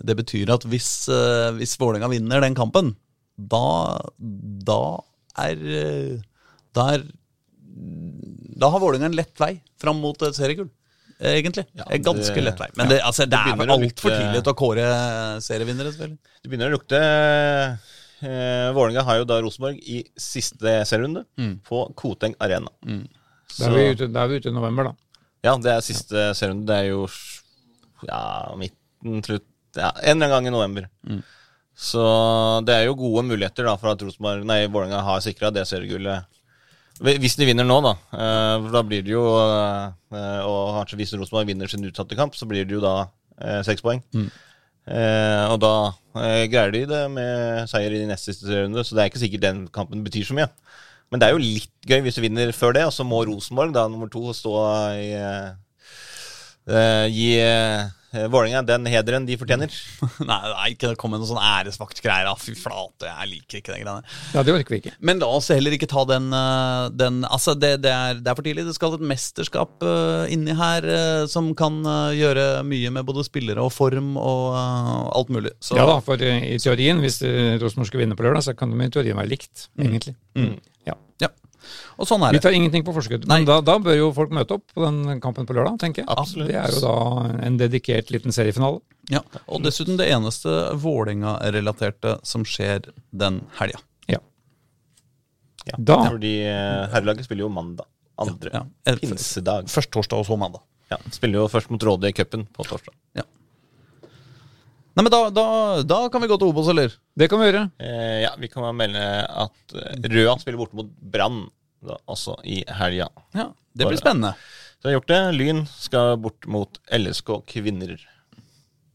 Speaker 1: Det betyr at hvis, uh, hvis Vålerenga vinner den kampen, da, da er eh, Da er Da har Vålerenga en lett vei fram mot et seriegull. eh, Egentlig.
Speaker 4: Ja,
Speaker 1: En ganske
Speaker 4: det-
Speaker 1: lett vei. Men det, altså, det, er
Speaker 4: begynner
Speaker 1: vel
Speaker 4: å
Speaker 1: altfor
Speaker 4: lukte-
Speaker 1: tidlig til å kåre serievinnere, selvfølgelig. *laughs*
Speaker 4: Det begynner å lukte eh, Vålerenga har jo da Rosenborg i siste serierunde
Speaker 1: Mm.
Speaker 4: på Koteng Arena.
Speaker 5: Da er, vi ute, da er vi ute i november, da.
Speaker 4: Ja, det er siste serierunde. Det er jo s- ja, midten, slutt ja, En eller annen gang i november. Så det er jo gode muligheter da for at Rosenborg, nei, Vålerenga har sikra det seriegullet. Hvi- Hvis de vinner nå, da. eh, for da blir det jo eh, eh, Og kanskje hvis Rosenborg vinner sin utsatte kamp, så blir det jo da eh, seks poeng. Eh, og da eh, greier de det med seier i de neste siste serierunde, så det er ikke sikkert den kampen betyr så mye. Men det er jo litt gøy hvis du vinner før det, og så må Rosenborg, da nummer to, stå i eh, eh, Gi eh, Vålerenga den hederen de fortjener.
Speaker 1: Nei, nei, ikke kom med noen sånn æresvaktgreier. ah, Fy flate, jeg liker ikke den greia der.
Speaker 5: Ja, det orker vi ikke.
Speaker 1: Men la oss heller ikke ta den, eh, den Altså, det, det, er, det er for tidlig. Det skal et mesterskap eh, inni her eh, som kan eh, gjøre mye med både spillere og form og eh, alt mulig. Så
Speaker 5: Ja da, for eh, i teorien, hvis eh, Rosenborg skulle vinne på lørdag, så kan de i teorien være likt,
Speaker 1: Mm.
Speaker 5: egentlig. Ja.
Speaker 1: ja. Og sånn er
Speaker 5: Vi
Speaker 1: det.
Speaker 5: tar ingenting på forskudd.
Speaker 1: Nei.
Speaker 5: Men da, da bør jo folk møte opp på den kampen på lørdag, tenker jeg.
Speaker 4: Absolutt.
Speaker 5: Det er jo da en dedikert liten seriefinale.
Speaker 1: Ja. Og dessuten det eneste Vålerenga-relaterte som skjer den helga.
Speaker 5: Ja.
Speaker 4: Ja,
Speaker 5: Da-
Speaker 4: Fordi eh, herrelaget spiller jo mandag. Andre.
Speaker 1: Ja, ja.
Speaker 4: Pinsedag.
Speaker 1: Først torsdag og så mandag.
Speaker 4: Ja, spiller jo først mot Råde i cupen på torsdag.
Speaker 1: Ja. Nei, men da, da, da kan vi gå til Obos, eller?
Speaker 5: Det kan vi gjøre.
Speaker 4: Eh, ja, vi kan bare melde at eh, Røa spiller borte mot Brann, da, altså i helga.
Speaker 1: Ja. Det
Speaker 4: Bare-
Speaker 1: blir spennende.
Speaker 4: Så jeg har gjort det. Lyn skal bort mot LSK Kvinner.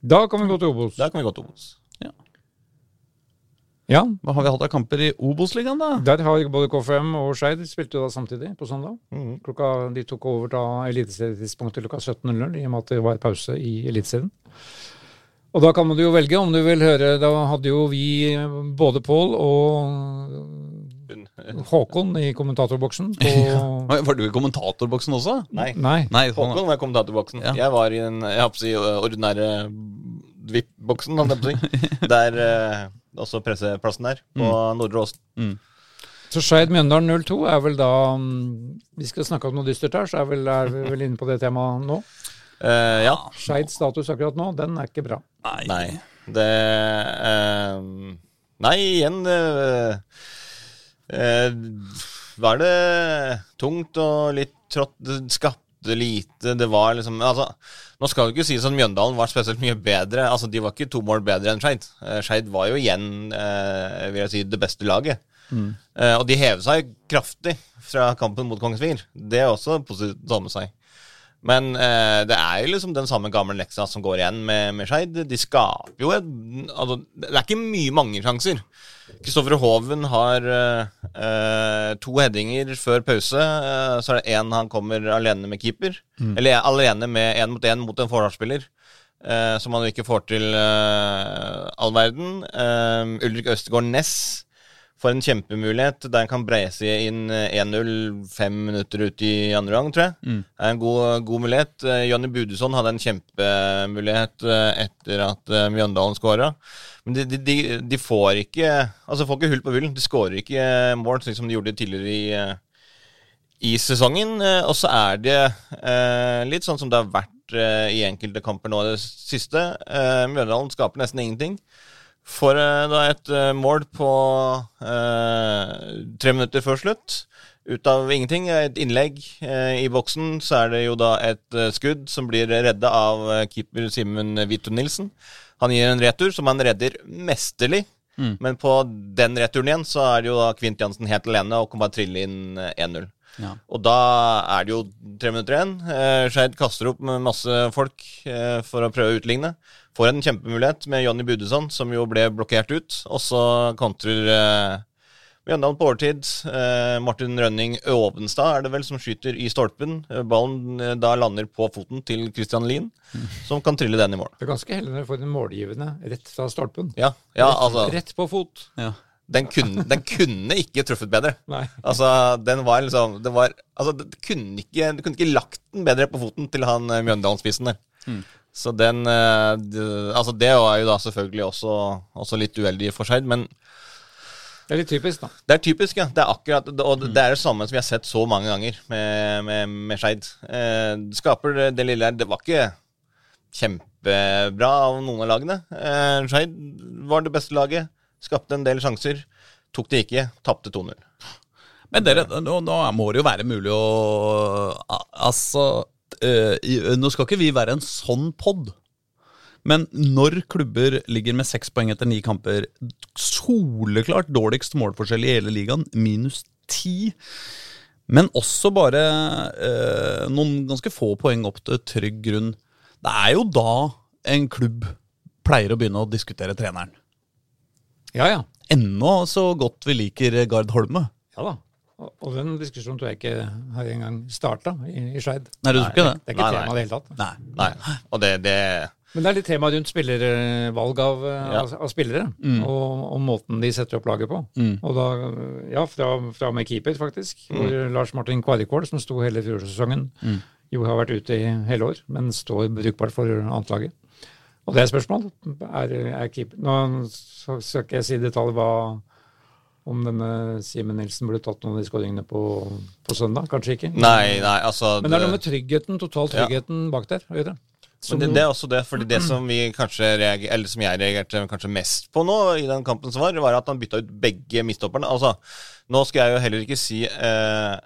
Speaker 5: Da kan vi gå til Obos.
Speaker 4: Da kan vi gå til Obos.
Speaker 5: Ja,
Speaker 1: Hva har vi hatt av kamper i Obos-ligaen, da?
Speaker 5: der har både KFM og Skeid spilt jo da samtidig på søndag.
Speaker 4: Mm. *laughs*
Speaker 5: Klokka, de tok over da eliteserietidspunktet klokka 17.00 i og med at det var pause i eliteserien. Og da kan man jo velge om du vil høre. Da hadde jo vi eh, både Pål og
Speaker 4: Hun-
Speaker 5: Håkon i kommentatorboksen på
Speaker 1: *laughs* Oi, Var du i kommentatorboksen også?
Speaker 4: Nei.
Speaker 5: Nei.
Speaker 1: Nei, sånn,
Speaker 4: Håkon var kommentatorboksen.
Speaker 1: Ja.
Speaker 4: Jeg var i den jeg håper å si, ordinære VIP-boksen, holdt jeg på å *laughs* si. Der eh, også presseplassen der, på Nordre Åsen.
Speaker 5: Så Skeid Mjøndalen 02 er vel da mm, Vi skal snakke om noe dystert her, så er, vel, er vi vel inne på det temaet nå.
Speaker 4: Eh, ja.
Speaker 5: Skeids status akkurat nå, den er ikke bra.
Speaker 1: nei.
Speaker 4: Nei. Det eh, Nei, igjen eh, eh, Var det tungt og litt trått? Det skapte lite. Det var liksom altså, Nå skal det ikke sies at Mjøndalen var spesielt mye bedre. Altså, De var ikke to mål bedre enn Skeid. Eh, Skeid var jo igjen eh, vil jeg si, det beste laget. Eh, og de hever seg kraftig fra kampen mot Kongsvinger. Det er også positivt å ta med seg. Men eh, det er jo liksom den samme gamle leksa som går igjen med, med Skeid. De skaper jo et altså, Det er ikke mye mange sjanser. Kristoffer Hoven har eh, eh, to headinger før pause. Eh, så er det én han kommer alene med keeper. Eller alene med én mot én mot en forsvarsspiller. Eh, som han jo ikke får til eh, all verden. Eh, Ulrik Østegård Næss får en kjempemulighet der han kan breise inn eh, 1-0 fem minutter ut i andre gang, tror jeg. Det er en god, god mulighet. Eh, Jonny Budusson hadde en kjempemulighet eh, etter at eh, Mjøndalen skåra. Men de, de, de, de får ikke Altså får ikke hull på bullen. De skårer ikke eh, mål, slik som de gjorde tidligere i eh, i sesongen. eh, Og så er det eh, litt sånn som det har vært eh, i enkelte kamper nå i det siste. Eh, Mjøndalen skaper nesten ingenting. Får eh, da et eh, mål på eh, tre minutter før slutt. Ut av ingenting. Et innlegg eh, i boksen. Så er det jo da et eh, skudd som blir redda av eh, keeper Simen Vito Nilsen. Han gir en retur som han redder mesterlig. Men på den returen igjen så er det jo da Kvint Jansen helt alene og kan bare trille inn eh, 1-0. Og da er det jo tre minutter igjen. Eh, Skeid kaster opp med masse folk eh, for å prøve å utligne. Får en kjempemulighet med Jonny Budesson, som jo ble blokkert ut. Og så kontrer eh, Mjøndalen på overtid. Eh, Martin Rønning Ovenstad er det vel som skyter i stolpen. Eh, Ballen eh, da lander på foten til Christian Lien, som kan trille den i mål.
Speaker 2: Det er ganske heldig når du får en målgivende rett fra stolpen.
Speaker 4: Ja, ja altså
Speaker 2: Rett på fot.
Speaker 1: Ja.
Speaker 4: Den kunne, den kunne ikke truffet bedre.
Speaker 2: Nei.
Speaker 4: Altså, den var liksom det var, altså, det kunne ikke, Du kunne ikke lagt den bedre på foten til han eh, Mjøndalen-spissen der. Så den eh, det- Altså, det var jo da selvfølgelig også, også litt uheldig for Skeid, men
Speaker 2: Det er litt typisk, da.
Speaker 4: det er typisk, ja. Det er akkurat, og det er det samme som vi har sett så mange ganger med, med, med Skeid. Eh, det skaper det lille her. Det var ikke kjempebra av noen av lagene. Eh, Skeid var det beste laget. Skapte en del sjanser. Tok det ikke. Tapte 2-0.
Speaker 1: Men dere, nå, nå må det jo være mulig å a- Altså eh, i- Nå skal ikke vi være en sånn pod. Men når klubber ligger med seks poeng etter ni kamper, soleklart dårligst målforskjell i hele ligaen, minus ti, men også bare eh, noen ganske få poeng opp til trygg grunn, det er jo da en klubb pleier å begynne å diskutere treneren.
Speaker 2: Ja, ja.
Speaker 1: Ennå så godt vi liker Gard Holme.
Speaker 2: Ja da. Og, og den diskusjonen tror jeg ikke har engang starta i, i Skeid.
Speaker 1: Nei, du tror ikke det?
Speaker 2: Det er ikke
Speaker 4: Nei, nei.
Speaker 2: tema i det hele tatt.
Speaker 1: Nei.
Speaker 4: Nei. Og det, det
Speaker 2: Men det er litt tema rundt spillervalg av, eh,
Speaker 4: Ja. Mm.
Speaker 2: av, av spillere, og, og måten de setter opp laget på. Og da, eh, ja, fra, fra og med keeper, faktisk,
Speaker 4: Mm.
Speaker 2: hvor Lars Martin Kvarikål, som sto hele fjorårssesongen, jo har vært ute i hele år, men står brukbart for annetlaget. Og det er spørsmål. Er, er keeper Nå så- skal ikke jeg si i detalj hva om denne Simen Nilsen ble tatt noen av de skåringene på, på søndag. Kanskje ikke.
Speaker 4: Nei, nei, altså
Speaker 2: Men det er noe med tryggheten, total
Speaker 4: Mm. Ja.
Speaker 2: tryggheten bak der. å gjøre.
Speaker 4: Men det, det er også det, fordi det som vi kanskje reager, eller som jeg reagerte kanskje mest på nå, i den kampen som var, var at han bytta ut begge midtstopperne. Altså, nå skal jeg jo heller ikke si eh,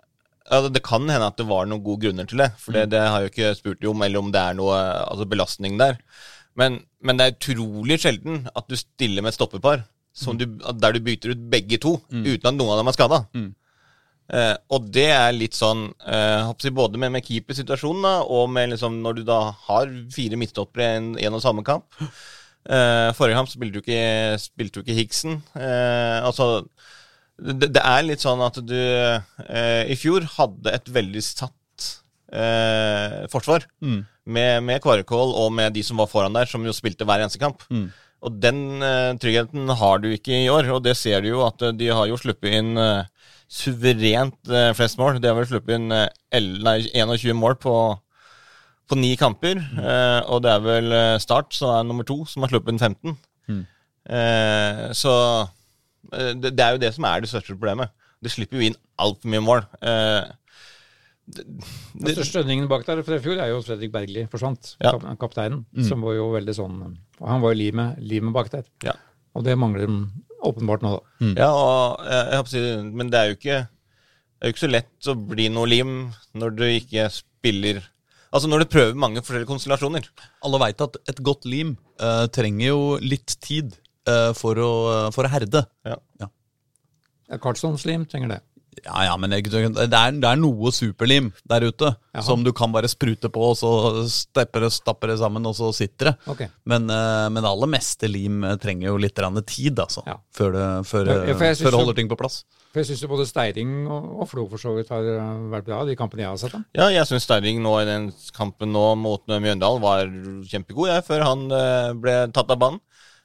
Speaker 4: ja, det, det kan hende at det var noen gode grunner til det, for det,
Speaker 2: Mm.
Speaker 4: det har jeg jo ikke spurt dem om, eller om det er noe eh, altså belastning der. Men, men det er utrolig sjelden at du stiller med et stoppepar
Speaker 2: Mm.
Speaker 4: som du, der du bytter ut begge to, uten at noen av dem er skada. Eh, og det er litt sånn eh, hoppsi, Både med, med keepersituasjonen da, og med liksom, når du da har fire midtstoppere i en, en og samme kamp. Eh, forrige kamp spilte du ikke, spilte du ikke Higgsen. Eh, altså det, det er litt sånn at du eh, i fjor hadde et veldig satt eh, forsvar. Med, med Kvarekål og med de som var foran der, som jo spilte hver eneste kamp. Og den eh, tryggheten har du ikke i år, og det ser du jo at eh, de har jo sluppet inn eh, suverent eh, flest mål. De har vel sluppet inn eh, el- nei, 21 mål på, på ni kamper, eh, og det er vel eh, Start som er nummer to, som har sluppet inn 15. Eh, så eh, det, det er jo det som er det største problemet. De slipper jo inn altfor mye mål. Eh,
Speaker 2: Den største øndringen bak der fra i fjor er jo at Fredrik Bergli forsvant,
Speaker 4: Ja. Mm.
Speaker 2: kap- kapteinen. Som var jo veldig sånn og Han var jo limet limet bak der.
Speaker 4: Ja.
Speaker 2: Og det mangler de åpenbart nå, da.
Speaker 4: Ja, og eh, jeg håper å si, men det er jo ikke Det er jo ikke så lett å bli noe lim når du ikke spiller Altså når du prøver mange forskjellige konstellasjoner.
Speaker 1: Alle veit at et godt lim eh, trenger jo litt tid eh, for, å, for å herde.
Speaker 4: Ja.
Speaker 5: Ja, Karlsson-slim trenger det.
Speaker 1: Ja, ja, men jeg- det er, det er noe superlim der ute som du kan bare sprute på, og så stepper det, stapper det sammen, og så sitter det.
Speaker 5: Ok.
Speaker 1: Men, eh, men det aller meste lim eh, trenger jo litt grann tid, altså.
Speaker 5: Ja.
Speaker 1: Før det før,
Speaker 5: Ja, ja, for jeg
Speaker 1: før
Speaker 5: synes
Speaker 1: det
Speaker 5: jo-
Speaker 1: holder ting på plass.
Speaker 5: For jeg syns både Steiring og og Flo for så vidt har eh, vært bra, de kampene jeg har sett. da.
Speaker 4: Ja, jeg syns Steiring nå i den kampen nå mot Mjøndalen var kjempegod, jeg, før han eh, ble tatt av banen.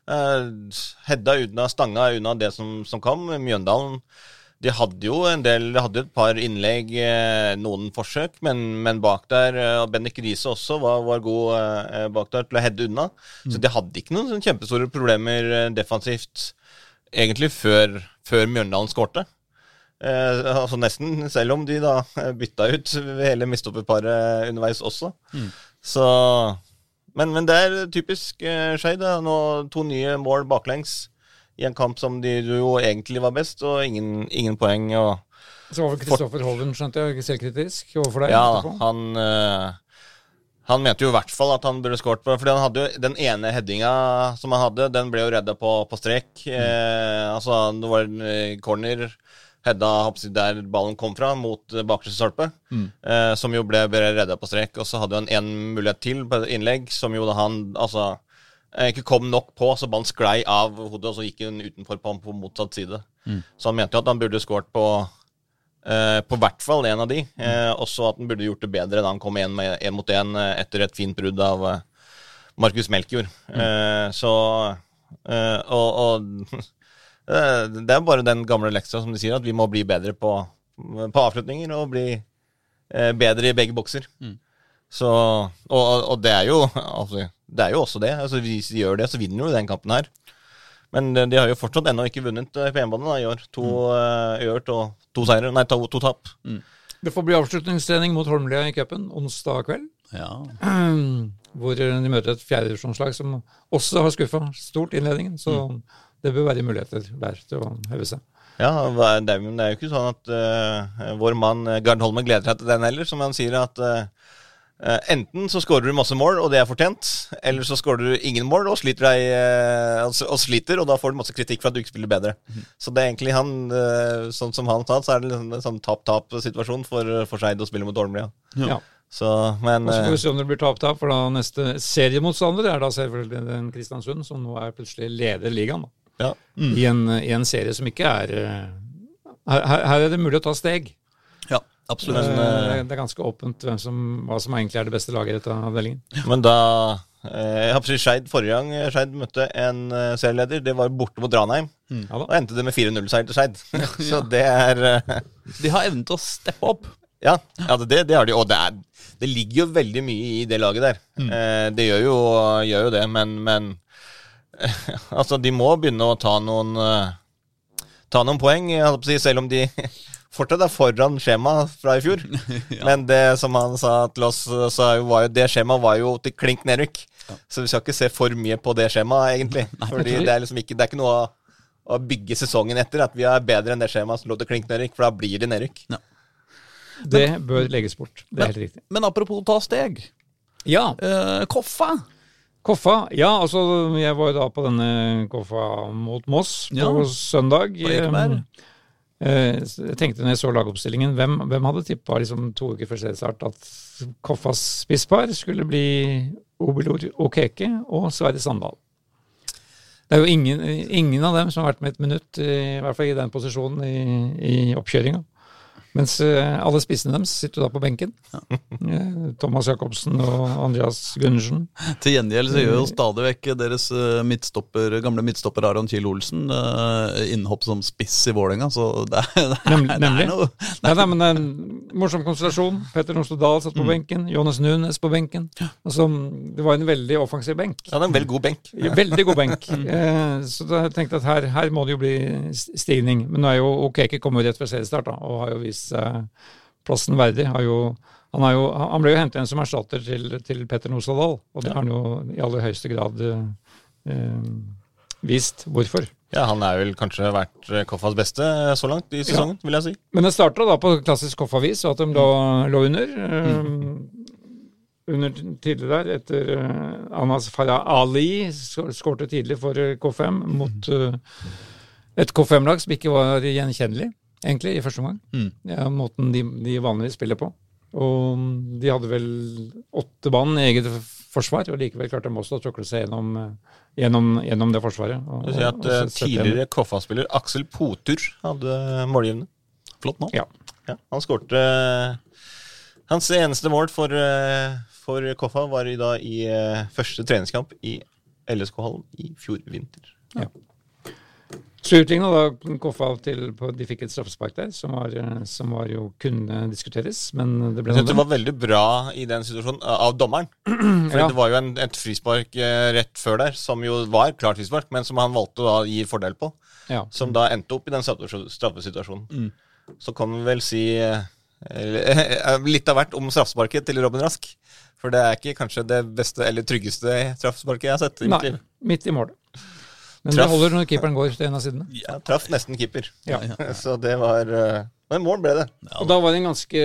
Speaker 4: Eh, Hedda unna, stanga unna det som, som kom. Mjøndalen de hadde jo en del, de hadde et par innlegg, eh, noen forsøk, men, men bak der eh, Og Bendik Riise også var, var god eh, bak der til å hedde unna. Så de hadde ikke noen sånne kjempestore problemer eh, defensivt, egentlig, før, før Mjøndalen skårte. Eh, altså nesten, selv om de da eh, bytta ut hele mistopperparet underveis også. Så men, men det er typisk eh, Skeid. da. Nå To nye mål baklengs i en kamp som de jo egentlig var best, og ingen, ingen poeng. og
Speaker 5: Så var vel Kristoffer Hoven, skjønte jeg, selvkritisk overfor deg.
Speaker 4: Ja,
Speaker 5: etterpå.
Speaker 4: han eh, Han mente jo i hvert fall at han burde skåret på Fordi han hadde jo den ene headinga som han hadde, den ble jo redda på, på strek. Eh, altså, det var en eh, corner Hedda hoppsi, der ballen kom fra, mot eh, bakre stolpe. Eh, som jo ble, ble redda på strek. Og så hadde han en mulighet til på et innlegg, som jo da han altså eh, ikke kom nok på, så ballen sklei av hodet, og så gikk hun utenfor på, på motsatt side. Så han mente jo at han burde skåret på Eh, på hvert fall en av de. Eh, også at han burde gjort det bedre da han kom én mot én eh, etter et fint brudd av eh, Markus Melkjord. Eh, så eh, Og, *laughs* og eh, det er bare den gamle leksa som de sier, at vi må bli bedre på, på avslutninger og bli eh, bedre i begge bokser. Så, og, og- og det er jo altså, Det er jo også det. Altså, hvis de gjør det, så vinner jo den kampen her. Men de de har jo fortsatt ennå ikke vunnet eh, på hjemmebane da, i år. To mm. ørt og to seire. Nei, to, to tap.
Speaker 5: Mm. Det får bli avslutningstrening mot Holmlia i cupen onsdag kveld. *clears throat*
Speaker 1: Ja.
Speaker 5: Hvor de møter et fjerdedivisjonslag som også har skuffa stort i innledningen. Så
Speaker 4: Mm.
Speaker 5: det bør være muligheter der til å heve seg.
Speaker 4: Ja, hva- det er men det er jo ikke sånn at eh, vår mann eh, Gard Holmen gleder seg til den heller, som han sier at eh, eh, Enten så skårer du masse mål, og det er fortjent, eller så skårer du ingen mål og sliter, deg, eh, og, s- og sliter, og da får du masse kritikk for at du ikke spiller bedre.
Speaker 5: Mm.
Speaker 4: Så det er egentlig han, eh, sånn som han sa, så er det liksom en sånn tap-tap-situasjon for, for Skeid å spille mot Holmlia.
Speaker 5: Ja.
Speaker 4: Så, men
Speaker 5: Og så
Speaker 4: eh,
Speaker 5: får vi se om det blir tap-tap, for da neste seriemotstander er da selvfølgelig den Kristiansund, som nå er plutselig leder ligaen. da.
Speaker 4: ja.
Speaker 5: I, en, I en serie som ikke er eh, her, her- her er det mulig å ta steg.
Speaker 1: ja, absolutt.
Speaker 5: Eh,
Speaker 4: Men, eh,
Speaker 5: det er ganske åpent hvem som, hva som egentlig er det beste laget i dette avdelingen.
Speaker 4: Men da eh, Jeg har på å si Skeid forrige gang eh, Skeid møtte en eh, serieleder. Det var borte mot Ranheim.
Speaker 5: Ja da.
Speaker 4: Da endte det med 4-0-seier til Skeid. Så det er eh,
Speaker 1: De har evnen til å steppe opp.
Speaker 4: Ja, ja det, det har de. Og det, er, det ligger jo veldig mye i det laget der. Eh, det gjør jo, gjør jo det, men, men *laughs* Altså, de må begynne å ta noen eh, Ta noen poeng, jeg holdt på å si, selv om de *laughs* fortsatt er foran skjemaet fra i fjor. Men det som han sa til oss, så er jo- var jo det skjemaet var jo til klink nedrykk. Så vi skal ikke se for mye på det skjemaet, egentlig. Fordi det er liksom ikke, det er ikke noe å, å bygge sesongen etter. At vi er bedre enn det skjemaet som lå til klink nedrykk, for da blir det nedrykk.
Speaker 5: Det bør legges bort. Det er
Speaker 1: Men-
Speaker 5: helt riktig.
Speaker 1: Men apropos ta steg.
Speaker 5: Ja,
Speaker 1: Eh, Koffa.
Speaker 5: Koffa. Ja, altså jeg var jo da på denne Koffa mot Moss på
Speaker 1: Ja.
Speaker 5: søndag. Um,
Speaker 1: På Ekeberg.
Speaker 5: Eh, s- Jeg tenkte når jeg så lagoppstillingen, hvem, hvem hadde tippa liksom to uker før seriestart at Koffas spisspar skulle bli Obelor Okeke og Sverre Sandal? Det er jo ingen, ingen av dem som har vært med et minutt, i hvert fall i den posisjonen i, i oppkjøringa. Mens eh, alle spissene deres sitter jo da på benken. Eh, Thomas Jacobsen og Andreas Gundersen.
Speaker 1: Til gjengjeld så gjør jo stadig vekk deres eh, midtstopper, gamle midtstopper Aron Kiel Olsen eh, innhopp som spiss i Vålerenga, så det er, det er,
Speaker 5: Nem-
Speaker 1: det
Speaker 5: nemlig.
Speaker 1: er noe
Speaker 5: Nei, nei, men det er en morsom konstellasjon. Petter Norstad Dahl satt på
Speaker 1: Mm.
Speaker 5: benken. Jonas Nunes på benken. Altså, det var en veldig offensiv benk.
Speaker 4: Ja, det er en veldig god benk.
Speaker 5: Veldig god
Speaker 1: *laughs*
Speaker 5: benk.
Speaker 1: Mm.
Speaker 5: Eh, så da tenkte jeg at her, her må det jo bli s- stigning. Men nå er jo Okeke kommet rett fra seriestart da, og har jo vist seg plassen verdig. Har jo, han, har jo, han ble jo hentet inn som erstatter til, til Petter Norstad Dahl, og det har han jo i aller høyeste grad eh, eh, vist hvorfor.
Speaker 4: Ja, Han er vel kanskje vært eh, Koffas beste så langt i sesongen, vil jeg si.
Speaker 5: Men det starta da på klassisk Koffavis, og at de lå,
Speaker 4: Mm.
Speaker 5: lå under. eh, under tidlig der, etter
Speaker 4: Mm.
Speaker 5: eh, Anas Farah Ali skå- skårte tidlig for eh, K5 mot eh, Et K5-lag som ikke var gjenkjennelig, egentlig, i første omgang.
Speaker 1: Mm.
Speaker 5: Ja, måten de, de vanligvis spiller på. Og mm, de hadde vel åtte mann i eget forsvar, og likevel klarte de også å tråkle seg gjennom, eh, gjennom, gjennom det forsvaret. Og,
Speaker 4: Du sier at
Speaker 5: og
Speaker 4: eh,
Speaker 5: sette- sette
Speaker 4: tidligere Koffa-spiller Aksel Potur hadde eh, målgivende.
Speaker 1: Flott nå.
Speaker 5: Ja.
Speaker 4: Ja, han skårte Hans eneste mål for, eh, for Koffa var i, da, i eh, første treningskamp i LSK-hallen i fjor vinter.
Speaker 5: Så utligna da Koffa til på, De fikk et straffespark der, som var, som var jo kunne diskuteres, men det ble sånn
Speaker 4: Jeg synes det
Speaker 5: noe.
Speaker 4: var veldig bra i den situasjonen eh, av dommeren. For
Speaker 5: Ja.
Speaker 4: Det var jo en, et frispark eh, rett før der, som jo var klart frispark, men som han valgte å da gi fordel på.
Speaker 5: Ja.
Speaker 4: Som da endte opp i den straffe- straffesituasjonen.
Speaker 5: Mm.
Speaker 4: Så kan vi vel si eh, eh, *laughs* litt av hvert om straffesparket til Robin Rask. For det er ikke kanskje det beste eller tryggeste straffesparket jeg har sett. i mitt
Speaker 5: Nei,
Speaker 4: liv.
Speaker 5: midt i målet. Men det
Speaker 4: Traff.
Speaker 5: holder når keeperen går til en av sidene.
Speaker 4: Jeg traff nesten keeper.
Speaker 5: Ja.
Speaker 4: *laughs* Så det var eh, Men mål ble det.
Speaker 5: Og da var det en ganske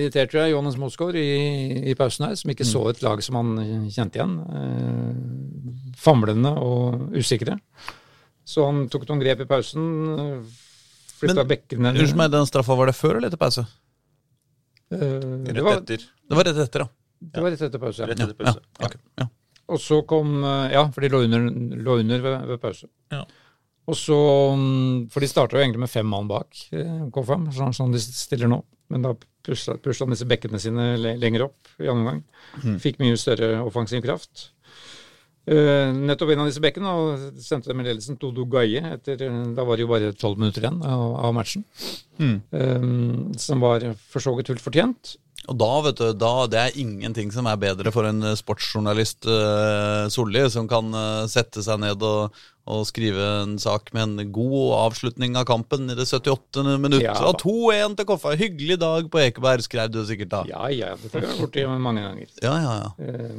Speaker 5: irritert, tror jeg, Johannes Mosgaard i, i pausen her, som
Speaker 4: Mm.
Speaker 5: ikke så et lag som han kjente igjen. Eh, famlende og usikre. Så han tok noen grep i pausen. Flytta
Speaker 1: Men-
Speaker 5: bekkene
Speaker 1: Unnskyld meg, den straffa, var det før eller etter pause?
Speaker 5: Eh, det,
Speaker 4: Rett
Speaker 5: var,
Speaker 4: etter.
Speaker 1: Det var rett etter, ja.
Speaker 5: det var rett etter pause. Ja.
Speaker 4: Rett etter
Speaker 1: Ja,
Speaker 4: pause.
Speaker 1: ok, ja.
Speaker 5: Og så kom eh, Ja, for de lå under, lå under ved, ved pause.
Speaker 1: Ja.
Speaker 5: Og så mm, For de starta jo egentlig med fem mann bak eh, K5, sånn som de stiller nå. Men da pusha pusha han disse bekkene sine le- lenger opp i andre omgang. Fikk mye større offensiv kraft. Eh, nettopp en av disse bekkene og sendte dem i ledelsen Todo Gaie. Etter, eh, da var det jo bare tolv minutter igjen av, av matchen. Eh, som var for så vidt fullt fortjent.
Speaker 1: Og da, vet du, da, det er ingenting som er bedre for en eh, sportsjournalist eh, Solli, som kan eh, sette seg ned og, og skrive en sak med en god avslutning av kampen i det 78. minutt.
Speaker 5: Ja.
Speaker 1: Og 2-1 til Koffa. Hyggelig dag på Ekeberg, skrev du sikkert da.
Speaker 5: Ja, ja, dette har jeg vært borti mange ganger.
Speaker 1: Ja, ja, ja.
Speaker 5: Eh,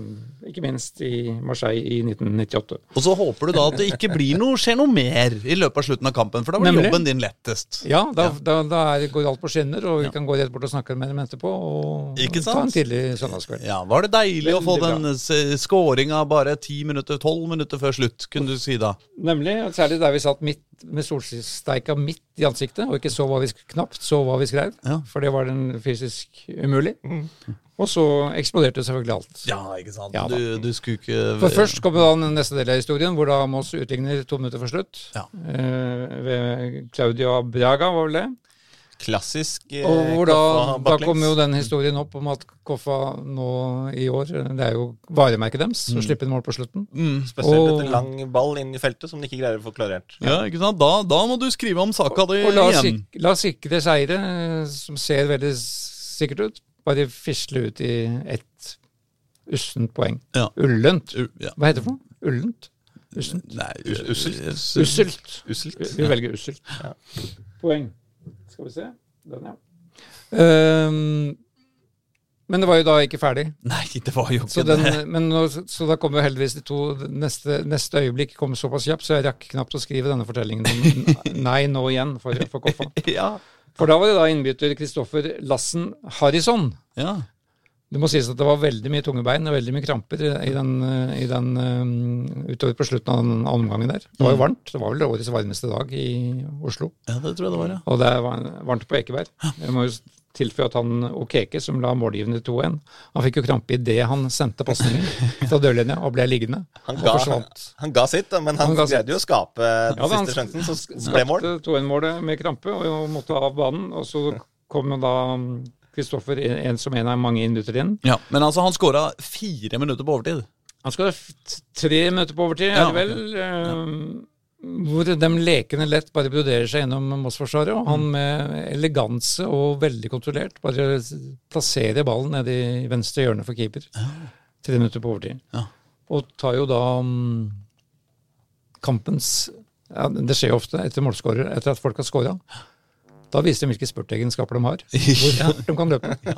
Speaker 5: ikke minst i Marseille i 1998.
Speaker 1: Og så håper du da at det ikke blir noe, skjer noe mer i løpet av slutten av kampen, for da blir
Speaker 5: Nemlig.
Speaker 1: jobben din lettest.
Speaker 5: Ja, da, da, da er, går alt på skinner, og vi kan gå rett bort og snakke med dem etterpå. Og
Speaker 1: Ikke
Speaker 5: ta
Speaker 1: sant?
Speaker 5: en tidlig søndagskveld.
Speaker 1: Ja, Var det deilig å få
Speaker 5: Veldig bra.
Speaker 1: den eh, s- skåringa bare 10 minutter, 12 minutter før slutt, kunne du si da?
Speaker 5: Nemlig, og særlig der vi satt midt, med solsteika midt i ansiktet, og ikke så hva vi sk- knapt så hva vi skrev,
Speaker 1: Ja.
Speaker 5: for det var den fysisk umulig. Og så eksploderte selvfølgelig alt.
Speaker 1: Ja, ikke sant.
Speaker 5: Ja, da.
Speaker 1: du, du skulle ikke
Speaker 5: For først kommer da den neste del av historien, hvor da Moss utligner to minutter før slutt.
Speaker 1: Ja.
Speaker 5: Eh, ved Claudia Braga, var vel det?
Speaker 4: Klassisk eh,
Speaker 5: Og hvor da,
Speaker 4: Koffa
Speaker 5: da
Speaker 4: baklengs.
Speaker 5: kom jo den historien opp om at Koffa nå i år Det er jo varemerket deres
Speaker 4: Mm.
Speaker 5: å slippe inn mål på slutten.
Speaker 1: mm.
Speaker 4: Spesielt
Speaker 5: Og-
Speaker 4: etter lang ball inn i feltet som de ikke greier å få klarert.
Speaker 1: Ja, ikke sant? Da, da må du skrive om saka di
Speaker 5: Og la,
Speaker 1: igjen.
Speaker 5: sik la sikre seire, eh, som ser veldig s- sikkert ut, bare fisle ut i ett ussent poeng.
Speaker 1: Ja.
Speaker 5: Ullent.
Speaker 1: U- ja.
Speaker 5: Hva heter det for noe? Ullent? Ussent?
Speaker 1: Nei,
Speaker 4: Us- usselt.
Speaker 1: us-
Speaker 5: Usselt.
Speaker 4: Usselt.
Speaker 5: Vi velger usselt.
Speaker 4: Ja.
Speaker 5: Poeng. Skal vi se. Den, ja. Ehm, men det var jo da ikke ferdig.
Speaker 1: Nei, det var jo
Speaker 5: Så,
Speaker 1: ikke
Speaker 5: den,
Speaker 1: det.
Speaker 5: men nå, så da kom jo heldigvis de to neste, neste øyeblikk kom såpass kjapt, så jeg rakk knapt å skrive denne fortellingen om nei nå igjen for, for Koffa.
Speaker 1: Ja.
Speaker 5: For da var det da innbytter Kristoffer Lassen Harrison.
Speaker 1: ja.
Speaker 5: Det må sies at det var veldig mye tunge bein og veldig mye kramper i i den, eh, i den eh, utover på slutten av den andre omgangen der. Det var jo varmt. Det var vel årets varmeste dag i Oslo.
Speaker 1: ja, det tror jeg det var, ja.
Speaker 5: Og det var varmt på Ekeberg. Jeg må jo tilføye at han Okeke, som la målgivende 2-1, han fikk jo krampe idet han sendte pasningen fra dørlinja og ble liggende.
Speaker 4: Han
Speaker 5: og
Speaker 4: ga,
Speaker 5: forsvant.
Speaker 4: han ga sitt, da, men han,
Speaker 5: Han ga sitt.
Speaker 4: greide jo å skape den
Speaker 5: Ja, da, han
Speaker 4: siste sjansen, så ble mål.
Speaker 5: Skapte 2-1-målet med krampe og måtte av banen. Og så kom jo da Kristoffer en en som en av mange innbytter inn.
Speaker 1: ja. Men altså, han skåra fire minutter på overtid.
Speaker 5: Han skal ha f- tre minutter på overtid, er
Speaker 1: Ja,
Speaker 5: det vel? eh, Hvor de lekene lett bare broderer seg gjennom Moss-forsvaret.
Speaker 1: Mm.
Speaker 5: Og han med eleganse og veldig kontrollert bare s- plasserer ballen nede i venstre hjørne for keeper. Tre minutter på overtid.
Speaker 1: Ja.
Speaker 5: Og tar jo da mm, kampens ja, Det skjer jo ofte etter målskårer, etter at folk har scora. Da viser de hvilke spurtegenskaper de har. Hvor
Speaker 1: *laughs*
Speaker 5: fort de kan løpe.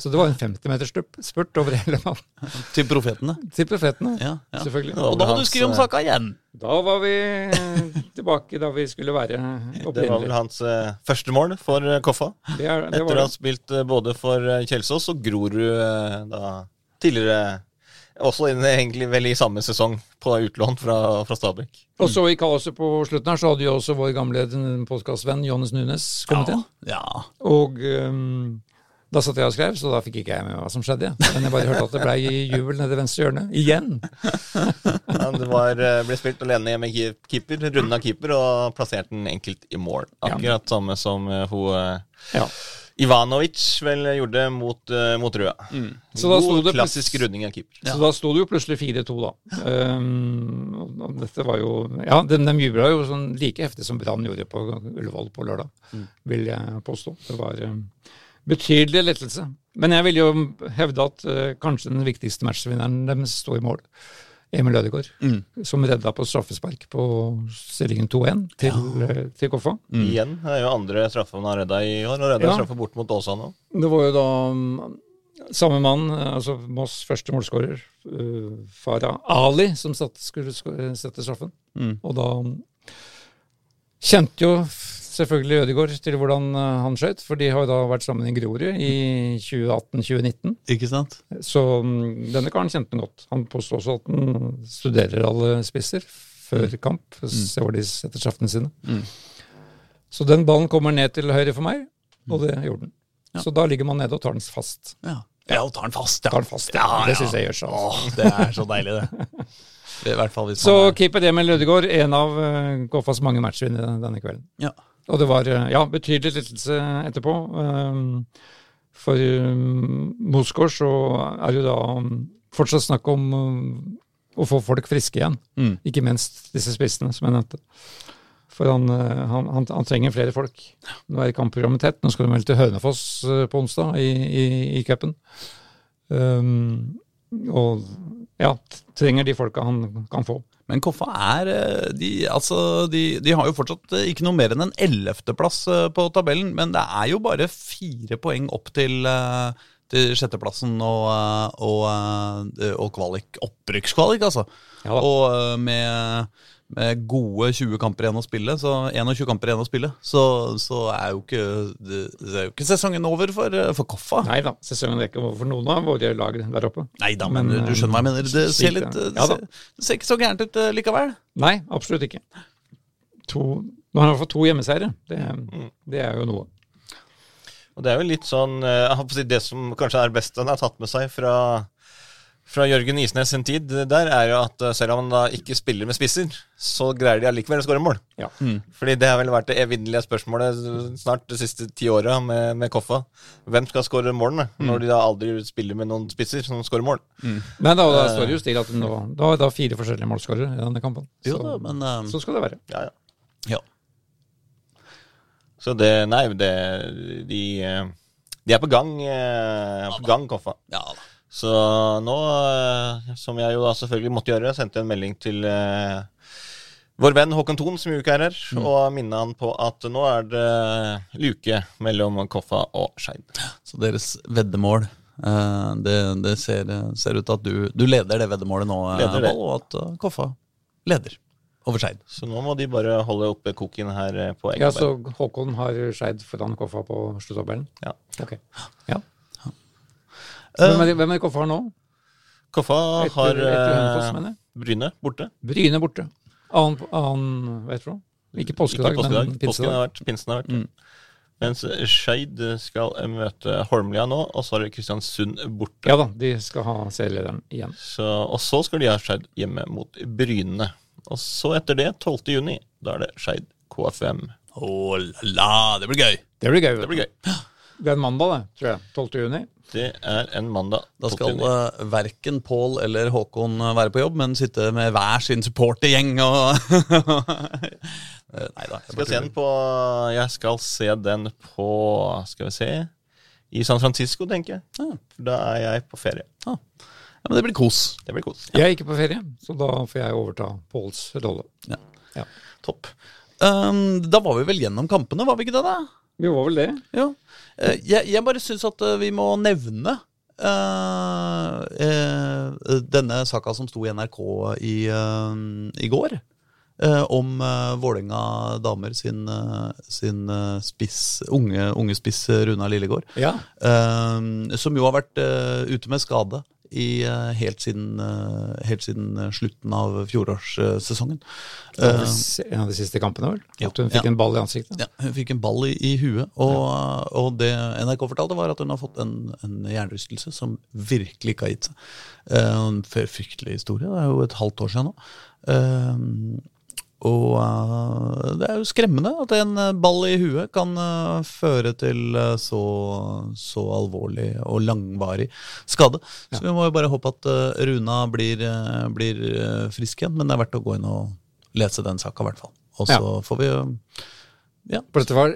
Speaker 5: Så det var en 50 meters stup- spurt over hele banen.
Speaker 1: Til profetene.
Speaker 5: Til profetene.
Speaker 1: Ja, ja.
Speaker 5: Selvfølgelig.
Speaker 1: Og da må du skrive om
Speaker 4: eh,
Speaker 1: saka igjen.
Speaker 5: Da var vi eh, tilbake da vi skulle være
Speaker 4: Det var vel
Speaker 5: opprinnelig.
Speaker 4: hans eh, første mål for eh, Koffa.
Speaker 5: Det, er- det
Speaker 4: Etter
Speaker 5: var
Speaker 4: å ha spilt eh, både for eh, Kjelsås og Grorud eh, da tidligere Også inne egentlig vel i samme sesong, på utlån fra, fra Stabæk.
Speaker 5: Og så i kaoset på slutten her, så hadde jo også vår gamle podkastvenn Johannes Nunes kommet inn.
Speaker 1: Ja.
Speaker 5: Og ehm, da satt jeg og skrev, så da fikk ikke jeg med hva som skjedde. jeg. Men jeg bare hørte at det blei jubel nede i venstre hjørne. Igjen!
Speaker 4: Ja, det var, eh, ble spilt alene hjemme i keep- keeper, runda keeper, og plasserte den enkelt i mål. Akkurat samme som eh, hun eh,
Speaker 5: Ja.
Speaker 4: Ivanovic vel gjorde mot, eh, mot Røa.
Speaker 5: Mm. Så da sto
Speaker 4: God
Speaker 5: det
Speaker 4: klassisk
Speaker 5: plutselig-
Speaker 4: runding av keeper.
Speaker 5: Så da sto det jo plutselig 4-2, da. Ehm, og- og dette var jo Ja, de, de jubla jo sånn like heftig som Brann gjorde på Ullevål på lørdag, vil jeg påstå. Det var ehm, betydelig lettelse. Men jeg vil jo hevde at eh, kanskje den viktigste matchvinneren deres sto i mål. Emil Ødegaard, som redda på straffespark på stillingen 2-1 til, eh, til Koffa.
Speaker 4: Igjen. Det er jo andre straffe han har redda i år. Han redda
Speaker 5: Ja.
Speaker 4: straffe bort mot Åsane òg.
Speaker 5: Det var jo da mm, samme mann, eh, altså Moss første målskårer, eh, Farah Ali, som satt, skulle sk- eh, sette straffen. Og da mm, kjente jo selvfølgelig Ødegaard til hvordan eh, han skøyt, for de har jo da vært sammen i Grorud i 2018-2019.
Speaker 1: Ikke sant?
Speaker 5: Så mm, denne karen kjente han godt. Han påstår også at han studerer alle spisser før
Speaker 1: Mm.
Speaker 5: kamp, for å se hvor de setter straffene sine. Så den ballen kommer ned til høyre for meg,
Speaker 1: Mm.
Speaker 5: og det gjorde den. Så da ligger man nede og tar den fast.
Speaker 1: Ja. ja, og tar den fast, ja.
Speaker 5: Tar den fast.
Speaker 1: Ja, ja.
Speaker 5: Det syns jeg gjør seg. altså.
Speaker 1: Åh, det er så deilig,
Speaker 5: *laughs*
Speaker 1: det. I hvert fall hvis
Speaker 5: Så
Speaker 1: man er
Speaker 5: keeper Emil Ødegaard, en av eh, KFAs mange matchvinnere denne kvelden.
Speaker 1: Ja.
Speaker 5: Og det var eh, ja, betydelig lettelse etterpå. Ehm, For um, Mosgaard så er det jo da um, fortsatt snakk om um, å få folk friske igjen.
Speaker 1: Mm.
Speaker 5: Ikke minst disse spissene, som jeg nevnte. For han, eh, han, han, han trenger flere folk. Nå er kampprogrammet tett. Nå skal de vel til Hønefoss eh, på onsdag i, i, i cupen. Ehm, og ja, t- trenger de folka han kan få.
Speaker 1: Men Koffa er eh, de, altså, de, de har jo fortsatt eh, ikke noe mer enn en ellevteplass eh, på tabellen, men det er jo bare fire poeng opp til, eh, til sjetteplassen og, eh, og, eh, og kvalik, opprykkskvalik, altså.
Speaker 5: Ja da.
Speaker 1: og eh, med, med gode 20 kamper igjen å spille, så 21 kamper igjen å spille, så, så er, jo ikke, det, det er jo ikke sesongen over for, eh, for Koffa.
Speaker 5: Nei da, sesongen er ikke over for noen av våre lag der oppe.
Speaker 1: Nei da, men,
Speaker 5: Men,
Speaker 1: du skjønner hva jeg mener. Det ser,
Speaker 5: slik det
Speaker 1: litt,
Speaker 5: er.
Speaker 1: eh,
Speaker 5: Ja
Speaker 1: det
Speaker 5: da.
Speaker 1: ser, det ser ikke så gærent ut eh, likevel.
Speaker 5: Nei, absolutt ikke. To, nå har han i hvert fall to hjemmeseiere. Det, det er jo noe.
Speaker 4: Og det er jo litt sånn eh, jeg håper å si Det som kanskje er best han har tatt med seg fra, fra Jørgen Isnes sin tid, det der er jo at eh, selv om han da ikke spiller med spisser, så greier de allikevel å skåre mål.
Speaker 5: Ja.
Speaker 1: Mm.
Speaker 4: Fordi det har vel vært det evinnelige spørsmålet snart de siste ti åra med, med Koffa. Hvem skal skåre målene,
Speaker 1: Mm.
Speaker 4: når de da aldri spiller med noen spisser som skårer mål?
Speaker 5: Men da, da står det jo stille at nå, da er det fire forskjellige målskårere i denne kampen.
Speaker 1: Jo
Speaker 5: Så,
Speaker 1: da, men eh,
Speaker 5: så skal det være.
Speaker 4: Ja, ja.
Speaker 1: ja.
Speaker 4: Så det Nei, det De, eh, de er på gang, eh, på gang Koffa.
Speaker 1: Ja da.
Speaker 4: Så nå, eh, som jeg jo da selvfølgelig måtte gjøre, sendte jeg en melding til eh, vår venn Håkon Thon, som jo ikke er her,
Speaker 5: Mm.
Speaker 4: og minnet han på at nå er det luke mellom Koffa og Skeid.
Speaker 1: Så deres veddemål eh, Det, det ser, ser ut til at du, du leder det veddemålet nå, eh,
Speaker 4: Leder det.
Speaker 1: Pål, og at eh, Koffa leder over Skeid.
Speaker 4: Så nå må de bare holde oppe koken her eh, på
Speaker 5: Ja,
Speaker 4: Ekeberg.
Speaker 5: så Håkon har Skeid foran Koffa på sluttabellen?
Speaker 4: Ja.
Speaker 5: Ok. Ja. Så Hvem er, hvem er Koffa har nå?
Speaker 4: Koffa
Speaker 5: Etter-
Speaker 4: har
Speaker 5: etter Hønefoss,
Speaker 4: eh,
Speaker 5: mener jeg.
Speaker 4: Bryne borte.
Speaker 5: Bryne borte. Annen, annen vet du hva? Ikke påskedag,
Speaker 4: Ikke
Speaker 5: men
Speaker 4: Påsken
Speaker 5: pinsedag.
Speaker 4: har vært, pinsen har vært.
Speaker 5: Mm.
Speaker 4: Mens Skeid skal eh, møte Holmlia nå, og så er det Kristiansund borte.
Speaker 5: Ja da, de skal ha serielederen igjen.
Speaker 4: Så, og så skal de ha Skeid hjemme mot Bryne. Og så etter det, 12. juni, da er det Skeid KFM.
Speaker 1: Å la la, det blir gøy!
Speaker 5: Det blir gøy.
Speaker 4: Det blir gøy.
Speaker 5: Det er en mandag, det, tror jeg. 12. juni.
Speaker 4: Det er en mandag.
Speaker 1: Da
Speaker 4: 12.
Speaker 1: skal
Speaker 4: juni.
Speaker 1: eh, verken Pål eller Håkon eh, være på jobb, men sitte med hver sin supportergjeng og *laughs* Eh, Nei da.
Speaker 4: skal se den på, jeg skal se den på Skal vi se I San Francisco, tenker jeg.
Speaker 1: Ja.
Speaker 4: For da er jeg på ferie.
Speaker 1: Ja, men det blir kos.
Speaker 4: Det blir kos.
Speaker 5: Jeg er ikke på ferie, så da får jeg overta Påls rolle.
Speaker 1: Topp. Um, da var vi vel gjennom kampene, var vi ikke det? da?
Speaker 5: Vi var vel det.
Speaker 1: Jo. Eh, Jeg, jeg bare syns at eh, vi må nevne eh, eh, denne saka som sto i NRK i, eh, i går. eh, om uh, Vålerenga damer sin, eh, sin eh, spiss, unge, unge spiss eh, Runa Lillegård.
Speaker 5: Ja.
Speaker 1: eh, som jo har vært eh, ute med skade i, eh, helt, siden, eh, helt siden eh, slutten av fjorårssesongen.
Speaker 2: Det var
Speaker 1: Eh,
Speaker 2: vel En av de siste kampene, vel?
Speaker 1: Ja.
Speaker 2: At hun fikk
Speaker 1: Ja.
Speaker 2: en ball i ansiktet.
Speaker 1: ja, hun fikk en ball i, i huet, og, og det NRK fortalte, var at hun har fått en, en hjernerystelse som virkelig ikke har gitt seg. Eh, En f- fryktelig historie. Det er jo et halvt år siden nå. Eh, og eh, det er jo skremmende at en eh, ball i huet kan eh, føre til eh, så, så alvorlig og langvarig skade. Så vi må jo bare håpe at eh, Runa blir, eh, blir eh, frisk igjen, men det er verdt å gå inn og lese den saka, i hvert fall. Og så får vi eh,
Speaker 2: For dette var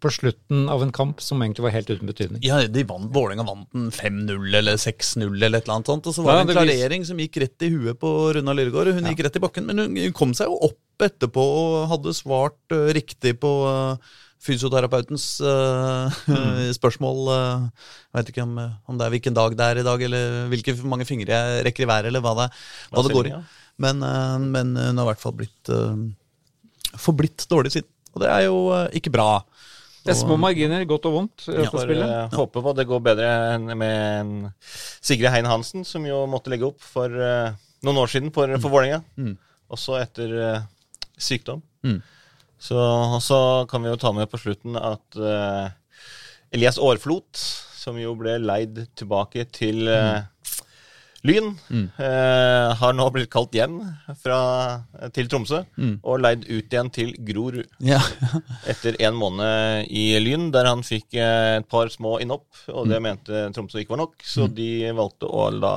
Speaker 2: på slutten av en kamp som egentlig var helt uten betydning.
Speaker 1: Ja, de vant, Vålerenga vant den 5-0 eller 6-0 eller et eller annet sånt. Og så var
Speaker 2: Ja,
Speaker 1: det en
Speaker 2: det vis-
Speaker 1: klarering som gikk rett i huet på Runa Lyrgaard. Hun gikk rett i bakken, men hun hun kom seg jo opp etterpå og hadde svart eh, riktig på eh, fysioterapeutens eh, *laughs* spørsmål. eh, jeg vet ikke om, eh, om det er hvilken dag det er i dag, eller hvilke mange fingre jeg rekker i været, eller hva det, hva det går i.
Speaker 4: Plassering, ja.
Speaker 1: Men, eh, men hun har i hvert fall blitt eh, forblitt dårlig siden. Og det er jo eh, ikke bra.
Speaker 2: Det er
Speaker 1: Og-
Speaker 2: små marginer, godt og vondt, i dette
Speaker 4: Får
Speaker 2: spillet.
Speaker 4: eh, håpe på at det går bedre enn med en Sigrid Hein Hansen, som jo måtte legge opp for eh, noen år siden for, for Vålerenga. Også etter eh, sykdom.
Speaker 1: Mm.
Speaker 4: Så, og så kan vi jo ta med på slutten at eh, Elias Aarflot, som jo ble leid tilbake til eh, Lyn, eh, har nå blitt kalt hjem fra, eh, til Tromsø og leid ut igjen til Grorud
Speaker 1: *laughs* Ja.
Speaker 4: etter en måned i Lyn, der han fikk eh, et par små innhopp, og
Speaker 1: Mm.
Speaker 4: det mente Tromsø ikke var nok, så de valgte å la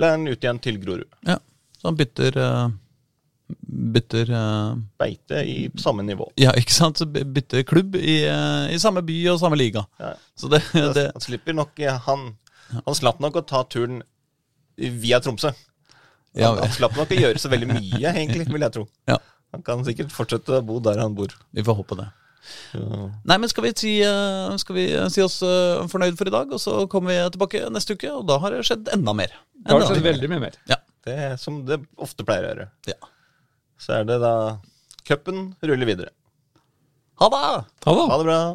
Speaker 4: lære han ut igjen til Grorud.
Speaker 1: Ja, så han bytter eh, Bytter eh, *laughs*
Speaker 4: Beite i samme nivå.
Speaker 1: Ja, ikke sant? Så by- bytter klubb i, eh, i samme by og samme liga.
Speaker 4: Ja.
Speaker 1: Så det, det
Speaker 4: Han slipper nok eh, han, han slapp nok å ta turen via Tromsø.
Speaker 1: ja,
Speaker 4: Han, han slapp nok å gjøre så veldig
Speaker 1: *laughs*
Speaker 4: mye, egentlig, vil jeg tro.
Speaker 1: Ja.
Speaker 4: Han kan sikkert fortsette å bo der han bor.
Speaker 1: Vi får håpe det.
Speaker 4: Så-
Speaker 1: Nei, men skal vi si, eh, skal vi si oss eh, fornøyd for i dag, og så kommer vi tilbake neste uke, og da har det skjedd enda mer.
Speaker 2: Det har
Speaker 1: Enda
Speaker 2: skjedd
Speaker 1: mer.
Speaker 2: veldig mye mer.
Speaker 4: Det er som det ofte pleier å gjøre.
Speaker 1: Ja.
Speaker 4: Så er det da Cupen ruller videre.
Speaker 1: Ha det!
Speaker 2: Ha det!
Speaker 4: Ha det bra.